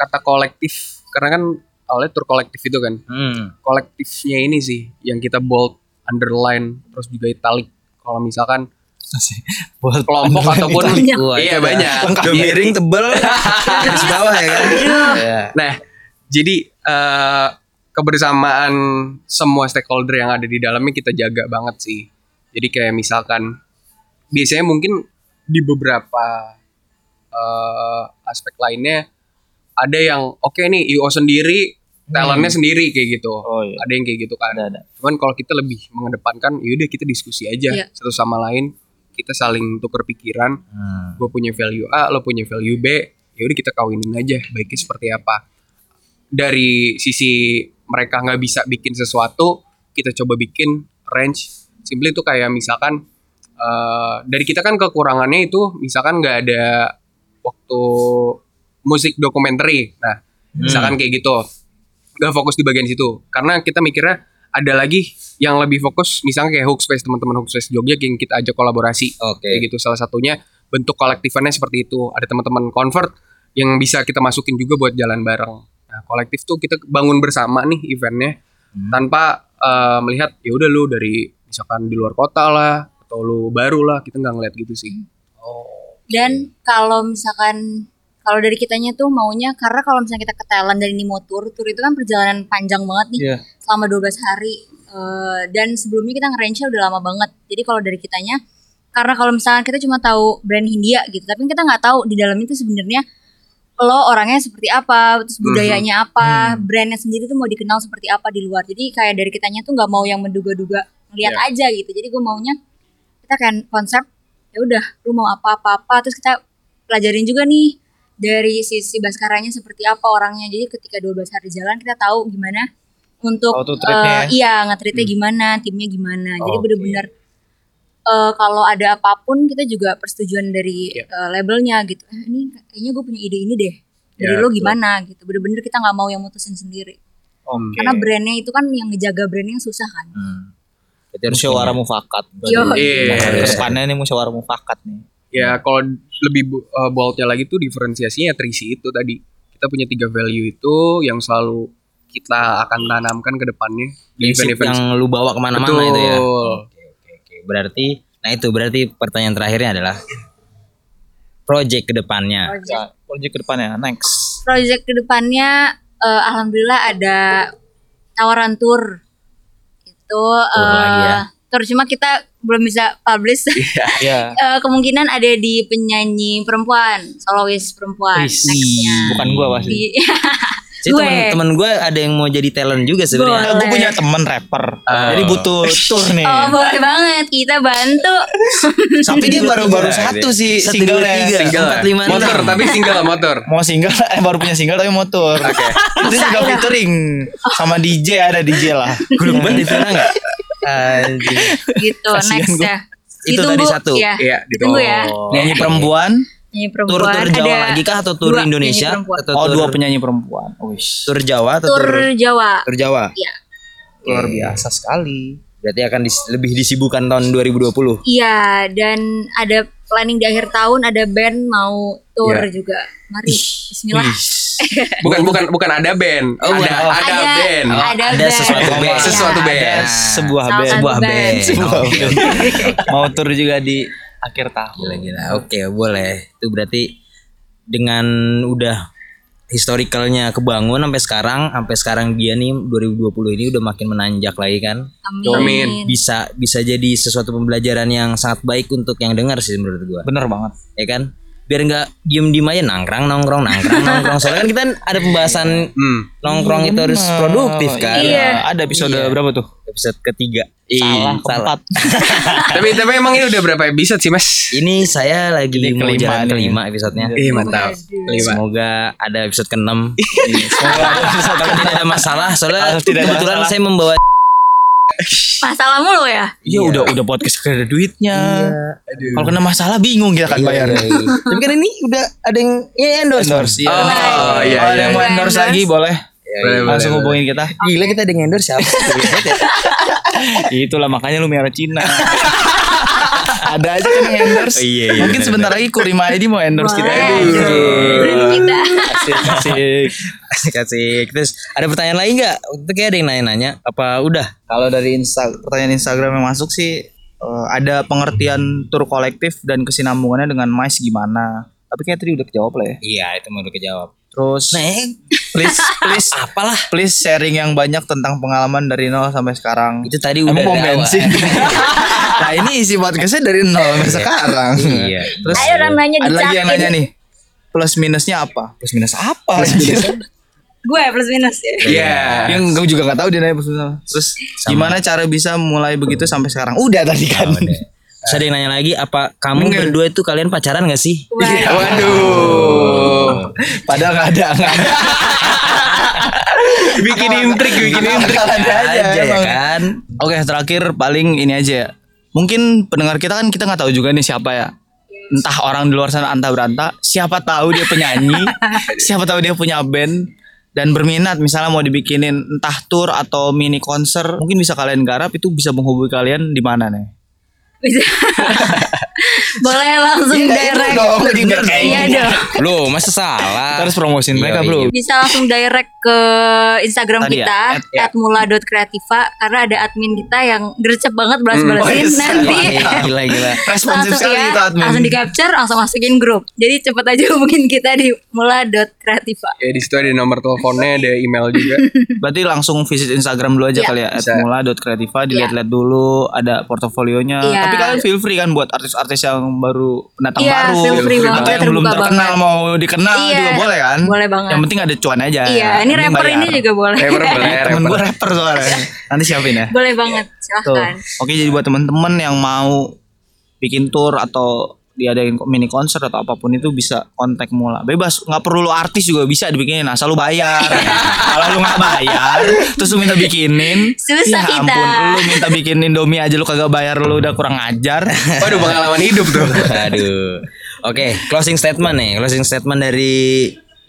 S5: kata kolektif karena kan awalnya tur kolektif itu kan
S2: Hmm.
S5: kolektifnya ini sih yang kita bold underline terus juga italic kalau misalkan
S3: Buat
S5: kelompok ataupun
S4: Banyak.
S5: iya banyak Iya.
S2: miring tebel garis bawah ya kan. Iya.
S5: nah jadi eh, kebersamaan semua stakeholder yang ada di dalamnya kita jaga banget sih jadi kayak misalkan biasanya mungkin di beberapa eh, aspek lainnya ada yang oke nih IO sendiri talentnya sendiri kayak gitu
S3: Oh, iya.
S5: ada yang kayak gitu kan
S3: ada ada.
S5: Cuman kalau kita lebih mengedepankan, yaudah kita diskusi aja
S4: Iya.
S5: satu sama lain, kita saling tukar pikiran.
S2: Hmm.
S5: Gue punya value A, lo punya value B, yaudah kita kawinin aja. Baiknya seperti apa? Dari sisi mereka nggak bisa bikin sesuatu, kita coba bikin range. Simply itu kayak misalkan eh, dari kita kan kekurangannya itu, misalkan nggak ada waktu musik dokumenter. Nah, misalkan kayak gitu gak fokus di bagian situ karena kita mikirnya ada lagi yang lebih fokus misalnya kayak Hook Space teman-teman Hook Space Jogja yang kita ajak kolaborasi
S2: Oke.
S5: kayak gitu salah satunya bentuk kolektifannya seperti itu ada teman-teman convert yang bisa kita masukin juga buat jalan bareng nah kolektif tuh kita bangun bersama nih eventnya
S2: Hmm.
S5: tanpa eh, melihat ya udah lu dari misalkan di luar kota lah atau lu baru lah kita nggak ngeliat gitu sih
S4: Dan kalau misalkan kalau dari kitanya tuh maunya karena kalau misalnya kita ke Thailand dan ini mau tur, tur itu kan perjalanan panjang banget nih.
S3: Iya.
S4: Selama 12 hari. Eh, dan sebelumnya kita nge udah lama banget. Jadi kalau dari kitanya karena kalau misalkan kita cuma tahu brand Hindia gitu, tapi kita nggak tahu di dalam itu sebenarnya lo orangnya seperti apa, terus budayanya apa, brandnya sendiri tuh mau dikenal seperti apa di luar. Jadi kayak dari kitanya tuh nggak mau yang menduga-duga, lihat aja gitu. Jadi gue maunya kita kan konsep ya udah lu mau apa-apa-apa terus kita pelajarin juga nih dari sisi Baskaranya seperti apa orangnya. Jadi ketika 12 hari jalan kita tahu gimana untuk
S3: Oh, tuh treatnya
S4: eh, iya nge-treatnya gimana, timnya gimana. Jadi
S2: Oke.
S4: bener-bener eh, kalau ada apapun kita juga persetujuan dari
S2: Iya.
S4: eh, labelnya gitu. Eh, ini kayaknya gue punya ide ini deh. Dari
S5: Ya,
S4: lo gimana gitu. Bener-bener kita nggak mau yang mutusin sendiri.
S2: Iya. Oh,
S5: Hmm.
S3: Oke.
S4: Karena brandnya itu kan yang ngejaga brandnya yang susah kan.
S2: Hmm. Berarti harus
S3: Musyawarah
S2: punya.
S3: mufakat.
S4: Yo.
S5: Iya.
S3: Ke depannya nih musyawarah mufakat nih.
S5: Ya kalau lebih bu- eh, boldnya lagi tuh diferensiasinya terisi itu tadi. Kita punya tiga value itu yang selalu kita akan tanamkan ke depannya di
S2: prinsip
S5: event-event.
S2: yang lu bawa kemana-mana
S5: Betul.
S2: itu ya. Oke, oke, oke. Berarti, nah itu berarti pertanyaan terakhirnya adalah project kedepannya.
S3: Nah, project ke depannya next.
S4: Project kedepannya eh, alhamdulillah ada tawaran tour. Itu
S2: Tour lagi ya.
S4: eh tour cuma kita belum bisa publish.
S3: Iya.
S4: Eh, kemungkinan ada di penyanyi perempuan, solois perempuan
S3: Wih,
S4: nextnya. Iya.
S3: Bukan gua pasti.
S4: Di-
S2: Jadi
S4: Gue.
S2: teman-teman gue ada yang mau jadi talent juga sebenarnya.
S4: Boleh.
S3: gue punya temen rapper.
S2: Ah.
S3: Jadi butuh tour nih.
S4: oh boleh banget kita bantu.
S3: Iya. Tapi dia baru-baru
S2: Tiga,
S3: satu sih
S2: Satu, dua,
S3: single
S2: tiga.
S5: Single. ya?
S2: Empat, lima, enam.
S5: motor tapi single motor.
S3: Mau single eh baru punya single tapi mau tour. Itu juga featuring sama DJ ada DJ lah.
S2: Gulung banget itu enggak? Anjing.
S4: gitu next ya.
S2: Itu tadi
S4: Ditunggu,
S2: satu.
S4: Ya.
S5: Iya,
S4: ditunggu ya.
S2: Oh.
S3: Penyanyi perempuan,
S4: Penyanyi perempuan.
S2: Tur tur Jawa
S4: ada
S2: lagi kah atau tur
S4: dua
S2: Indonesia?
S4: penyanyi perempuan.
S2: Atau
S3: oh
S2: tur,
S3: dua penyanyi perempuan. Wih,
S2: tur Jawa atau
S4: Tur
S2: tur,
S4: Jawa.
S2: tur Jawa?
S4: Iya.
S3: luar biasa sekali.
S2: Berarti akan dis- lebih disibukkan tahun 2020.
S4: Iya dan ada planning di akhir tahun ada band mau tour
S5: Iya.
S4: juga. Mari Bismillah.
S3: Wih,
S5: Bukan bukan bukan ada band.
S2: Oh,
S5: ada,
S2: bukan.
S5: ada band.
S4: ada,
S2: ada
S4: band. Iya.
S2: sesuatu
S5: Ada
S2: band.
S5: sesuatu band.
S3: Ada sebuah
S4: Salah
S3: band.
S4: satu
S2: Sebuah
S4: band.
S2: band.
S3: Sebuah
S2: Oke,
S3: band. Mau tur juga di akhir tahun.
S2: Gila-gila. Oke, boleh. Itu berarti dengan udah historicalnya kebangun sampai sekarang, sampai sekarang dia nih 2020 ini udah makin menanjak lagi kan.
S4: Amin.
S5: Amin.
S2: Bisa bisa jadi sesuatu pembelajaran yang sangat baik untuk yang dengar sih menurut gua.
S3: Bener banget.
S2: Ya kan? Biar nggak diem diem aja nangkrang nongkrong nangkrang nongkrong. Soalnya kan kita ada pembahasan
S5: Hmm.
S2: nongkrong itu harus produktif kan.
S3: Iya. Ada episode berapa tuh?
S2: Episode ketiga.
S3: Salah,
S2: Ih, salah.
S3: keempat.
S5: tapi tapi emang ini udah berapa episode sih, Mas?
S2: Ini saya lagi
S3: Ini
S2: mau
S3: kelima
S2: jalan
S3: nih. Iya.
S2: kelima episodenya.
S5: Ih, mantap.
S2: Iya,
S5: Lima.
S2: Semoga ada episode ke-6
S3: Semoga ada episode
S2: Kalau tidak ada masalah Soalnya
S3: Kalau Iya. tidak ada
S2: kebetulan
S3: masalah.
S2: saya membawa
S4: Masalah mulu ya.
S3: Iya udah udah podcast gak ada duitnya. Kalau kena masalah bingung kita kan bayar.
S2: Tapi kan ini udah ada yang ya, endorse
S3: Endorse. iya.
S5: Oh,
S3: Kalau
S5: iya,
S3: ada
S5: iya.
S3: yang mau endorse
S4: Endorse.
S3: lagi boleh.
S5: Boleh,
S3: Langsung
S5: boleh,
S3: hubungin kita.
S2: Gila kita ada yang endorse siapa
S3: Itulah makanya lu merah Cina. ada aja kan yang endorse.
S2: Iya, iya, Iya.
S3: Mungkin sebentar lagi Kurima Edi mau endorse kita.
S4: Boleh.
S3: Aduh.
S4: Kita.
S3: Asik, asik.
S2: Kasih Terus ada pertanyaan lain gak? Itu kayak ada yang nanya-nanya Apa udah?
S3: Kalau dari Insta pertanyaan Instagram yang masuk sih eh, ada pengertian tur kolektif dan kesinambungannya dengan mais gimana? Tapi kayak tadi udah kejawab lah ya.
S2: Iya itu mau kejawab
S3: Terus please please apalah please sharing yang banyak tentang pengalaman dari nol sampai sekarang.
S2: Itu tadi udah
S3: Emang pom
S2: ada awal.
S3: bensin. nah ini isi podcastnya dari nol sampai sekarang.
S2: Iya.
S3: Terus
S4: Ayo orang nanya gitu.
S3: ada lagi yang
S4: dicakin.
S3: nanya nih plus minusnya apa? Plus minus apa? anjir?
S4: Gue plus minus ya.
S5: Iya.
S3: yang gue juga gak tahu dia nanya plus minus apa. Terus gimana cara bisa mulai begitu sampai sekarang? Udah tadi kan.
S2: Terus ada yang nanya lagi Apa kamu berdua itu kalian pacaran gak sih?
S5: Iya.
S4: Wah,
S5: Waduh.
S3: Padahal gak ada, gak ada.
S5: Bikin intrik, bikin intrik.
S3: ada aja,
S2: aja ya
S3: emang.
S2: kan
S3: Oke terakhir paling ini aja ya. Mungkin pendengar kita kan kita nggak tahu juga nih siapa ya. Entah orang di luar sana anta beranta, siapa tahu dia penyanyi, siapa tahu dia punya band dan berminat misalnya mau dibikinin entah tour atau mini konser, mungkin bisa kalian garap itu bisa menghubungi kalian di mana nih?
S4: bisa. Boleh langsung direct. Iya dong.
S2: Lo masa salah
S3: Kita harus promosin mereka, Bro.
S4: Bisa langsung direct ke Instagram
S3: Tadi ya,
S4: kita
S3: at- ya.
S4: @mula.kreativa karena ada admin kita yang gercep banget balas-balasin nanti.
S2: Gila gila
S3: Responsif
S4: langsung
S3: sekali
S4: ya,
S3: itu admin.
S4: langsung di capture, langsung masukin grup. Jadi cepet aja hubungin kita di mula.kreativa.
S5: Ya di situ ada nomor teleponnya, ada email juga.
S3: Berarti langsung visit Instagram dulu aja
S4: Iya.
S3: kali ya
S5: Bisa.
S3: @mula.kreativa dilihat-lihat dulu ada portofolionya.
S4: Iya.
S3: Tapi kalian feel free kan buat artis-artis yang baru pendatang
S4: Iya,
S3: baru
S4: feel free banget,
S3: atau yang belum
S4: terbuka
S3: terkenal mau dikenal
S4: Iya,
S3: juga boleh kan?
S4: boleh banget.
S3: Yang penting ada cuan aja.
S4: Iya, ini
S3: Mending
S4: rapper
S3: Eh, bayar.
S4: ini juga boleh.
S5: Rapper boleh,
S3: Temen
S5: rapper.
S3: gue rapper soalnya. Nanti siapin ya.
S4: boleh banget,
S3: Tuh.
S4: silahkan.
S3: Oke, jadi buat temen-temen yang mau bikin tour atau diadain mini konser atau apapun itu bisa kontak mula bebas nggak perlu lu artis juga bisa dibikinin asal lu bayar kalau lu nggak bayar terus lu minta bikinin ya
S4: Susah kita.
S3: ampun lu minta bikinin domi aja lu kagak bayar lu udah kurang ajar
S5: Waduh pengalaman hidup tuh.
S2: Aduh Oke closing statement nih Closing statement dari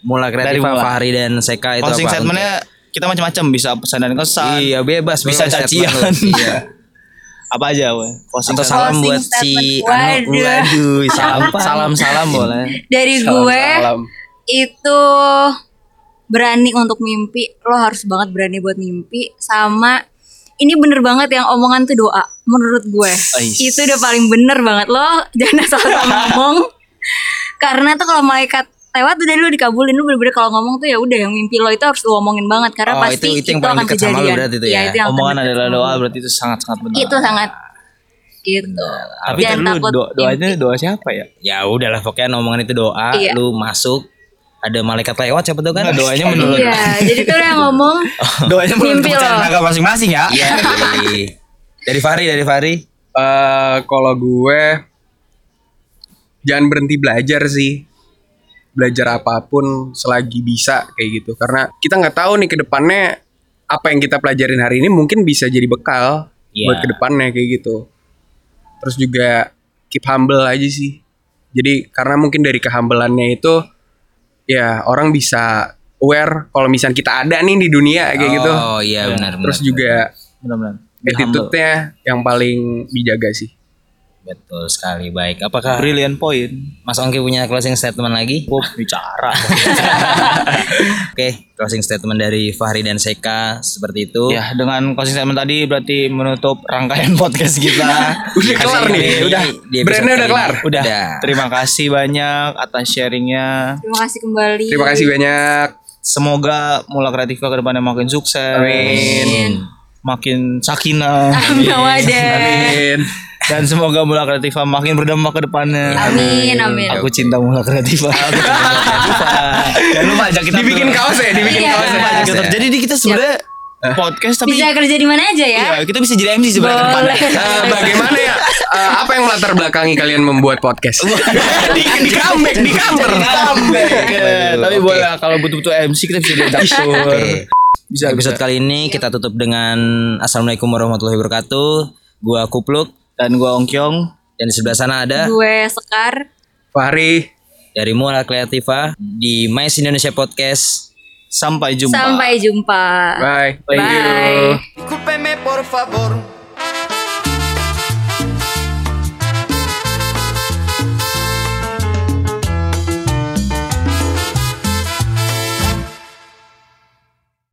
S2: Mula
S3: Dari
S2: Kreatif
S3: Mula.
S2: Fahri dan Seka itu
S3: closing
S2: apa?
S3: statementnya kita macam-macam bisa pesan dan
S2: Untuk-
S3: kesan
S2: Iya bebas
S3: Bisa
S2: bebas
S3: cacian.
S2: statement lu. Iya
S3: apa aja weh closing
S2: Atau
S3: statement.
S2: salam
S4: Closing
S2: buat si
S4: statement.
S2: Anu
S4: Waduh.
S2: Waduh
S3: salam
S2: Sampah
S3: salam salam boleh
S4: Dari gue
S5: Salam.
S4: itu berani untuk mimpi, lo harus banget berani buat mimpi sama ini bener banget yang omongan tuh doa menurut gue.
S3: Ais.
S4: Itu udah paling bener banget lo jangan asal ngomong. Karena tuh kalau malaikat lewat udah lu dikabulin lu bener-bener kalau ngomong tuh ya udah yang mimpi lo itu harus lu omongin banget karena
S2: Oh,
S4: pasti
S2: itu- itu yang paling
S4: akan
S2: dekat sama lu
S4: kejadian.
S2: berarti itu
S4: Iya,
S2: ya.
S4: yang akan
S3: omongan
S4: dekat
S3: adalah
S4: sama
S3: doa
S4: lu.
S3: berarti itu sangat-sangat benar
S4: Itu sangat gitu.
S2: Nah,
S3: tapi
S4: Jangan
S3: tadi lu
S4: takut
S3: do- doanya doa siapa ya
S2: Ya udahlah pokoknya omongan itu doa
S4: Iya.
S2: Lu masuk Ada malaikat lewat siapa tuh kan
S3: Nah, doanya menurut
S4: Iya, jadi tuh yang ngomong
S2: Oh.
S3: doanya menurut
S4: Mimpi
S3: kepercayaan
S4: lo.
S3: agama masing-masing ya
S2: Iya Dari Fahri dari Fahri
S5: Eh kalau gue jangan berhenti belajar sih. Belajar apapun selagi bisa kayak gitu. Karena kita nggak tahu nih ke depannya apa yang kita pelajarin hari ini mungkin bisa jadi bekal
S2: Iya.
S5: buat ke depannya kayak gitu. Terus juga keep humble aja sih. Jadi karena mungkin dari kehumbelannya itu ya orang bisa aware kalau misalnya kita ada nih di dunia kayak gitu.
S2: Oh iya
S3: Ya,
S2: benar benar
S5: Terus juga
S3: benar-benar Be humble.
S5: attitude-nya yang paling dijaga sih.
S2: Betul sekali baik. Apakah
S3: Brilliant point.
S2: Mas Ongki punya closing statement lagi?
S3: Gue bicara.
S2: Oke, closing statement dari Fahri dan Seka seperti itu.
S5: Iya.
S3: ya dengan closing statement tadi berarti menutup rangkaian podcast kita.
S5: Udah kelar
S2: Ini-
S5: nih.
S2: ini
S5: Udah.
S2: di episode
S5: Brandnya udah
S2: kelima.
S5: kelar.
S3: Udah.
S2: Udah.
S3: Terima kasih banyak atas sharingnya.
S4: Terima kasih kembali.
S5: Terima kasih banyak.
S3: Semoga mula kreatifnya ke depannya makin sukses. Makin sakinah.
S4: Amin. Wadah.
S5: Amin.
S3: Dan semoga mula kreatifnya makin berdampak ke depannya.
S4: Amin, amin.
S3: Aku cinta mula kreatifnya. Aku cinta Mula Kreativa. Jangan lupa ajak kita
S5: Dibikin
S3: tuh.
S5: kaos ya, dibikin
S4: Iya.
S5: kaos ya.
S3: Ajak kita Iya. tuh. Jadi di- kita sebenarnya podcast tapi
S4: Bisa kerja di mana aja ya?
S3: ya, kita bisa jadi MC sebenarnya ke depannya.
S4: Boleh.
S5: Eh, bagaimana ya? Eh, apa yang melatar belakangi kalian membuat podcast? di di comeback, di cover.
S3: Eh, tapi
S2: Oke. Iya.
S3: boleh kalau butuh-butuh MC kita bisa diajak sur.
S2: Oke.
S3: Bisa
S2: Episode kali ini kita tutup dengan Assalamualaikum warahmatullahi wabarakatuh. Gua Kupluk
S3: Dan gua Ongkyong.
S2: dan di sebelah sana Nah, ada
S4: Gue Sekar.
S5: Fahri.
S2: dari Muara Kreativa di Mais Indonesia Podcast.
S3: Sampai jumpa.
S4: Sampai jumpa.
S5: Bye.
S4: Bye.
S1: Discúlpeme por favor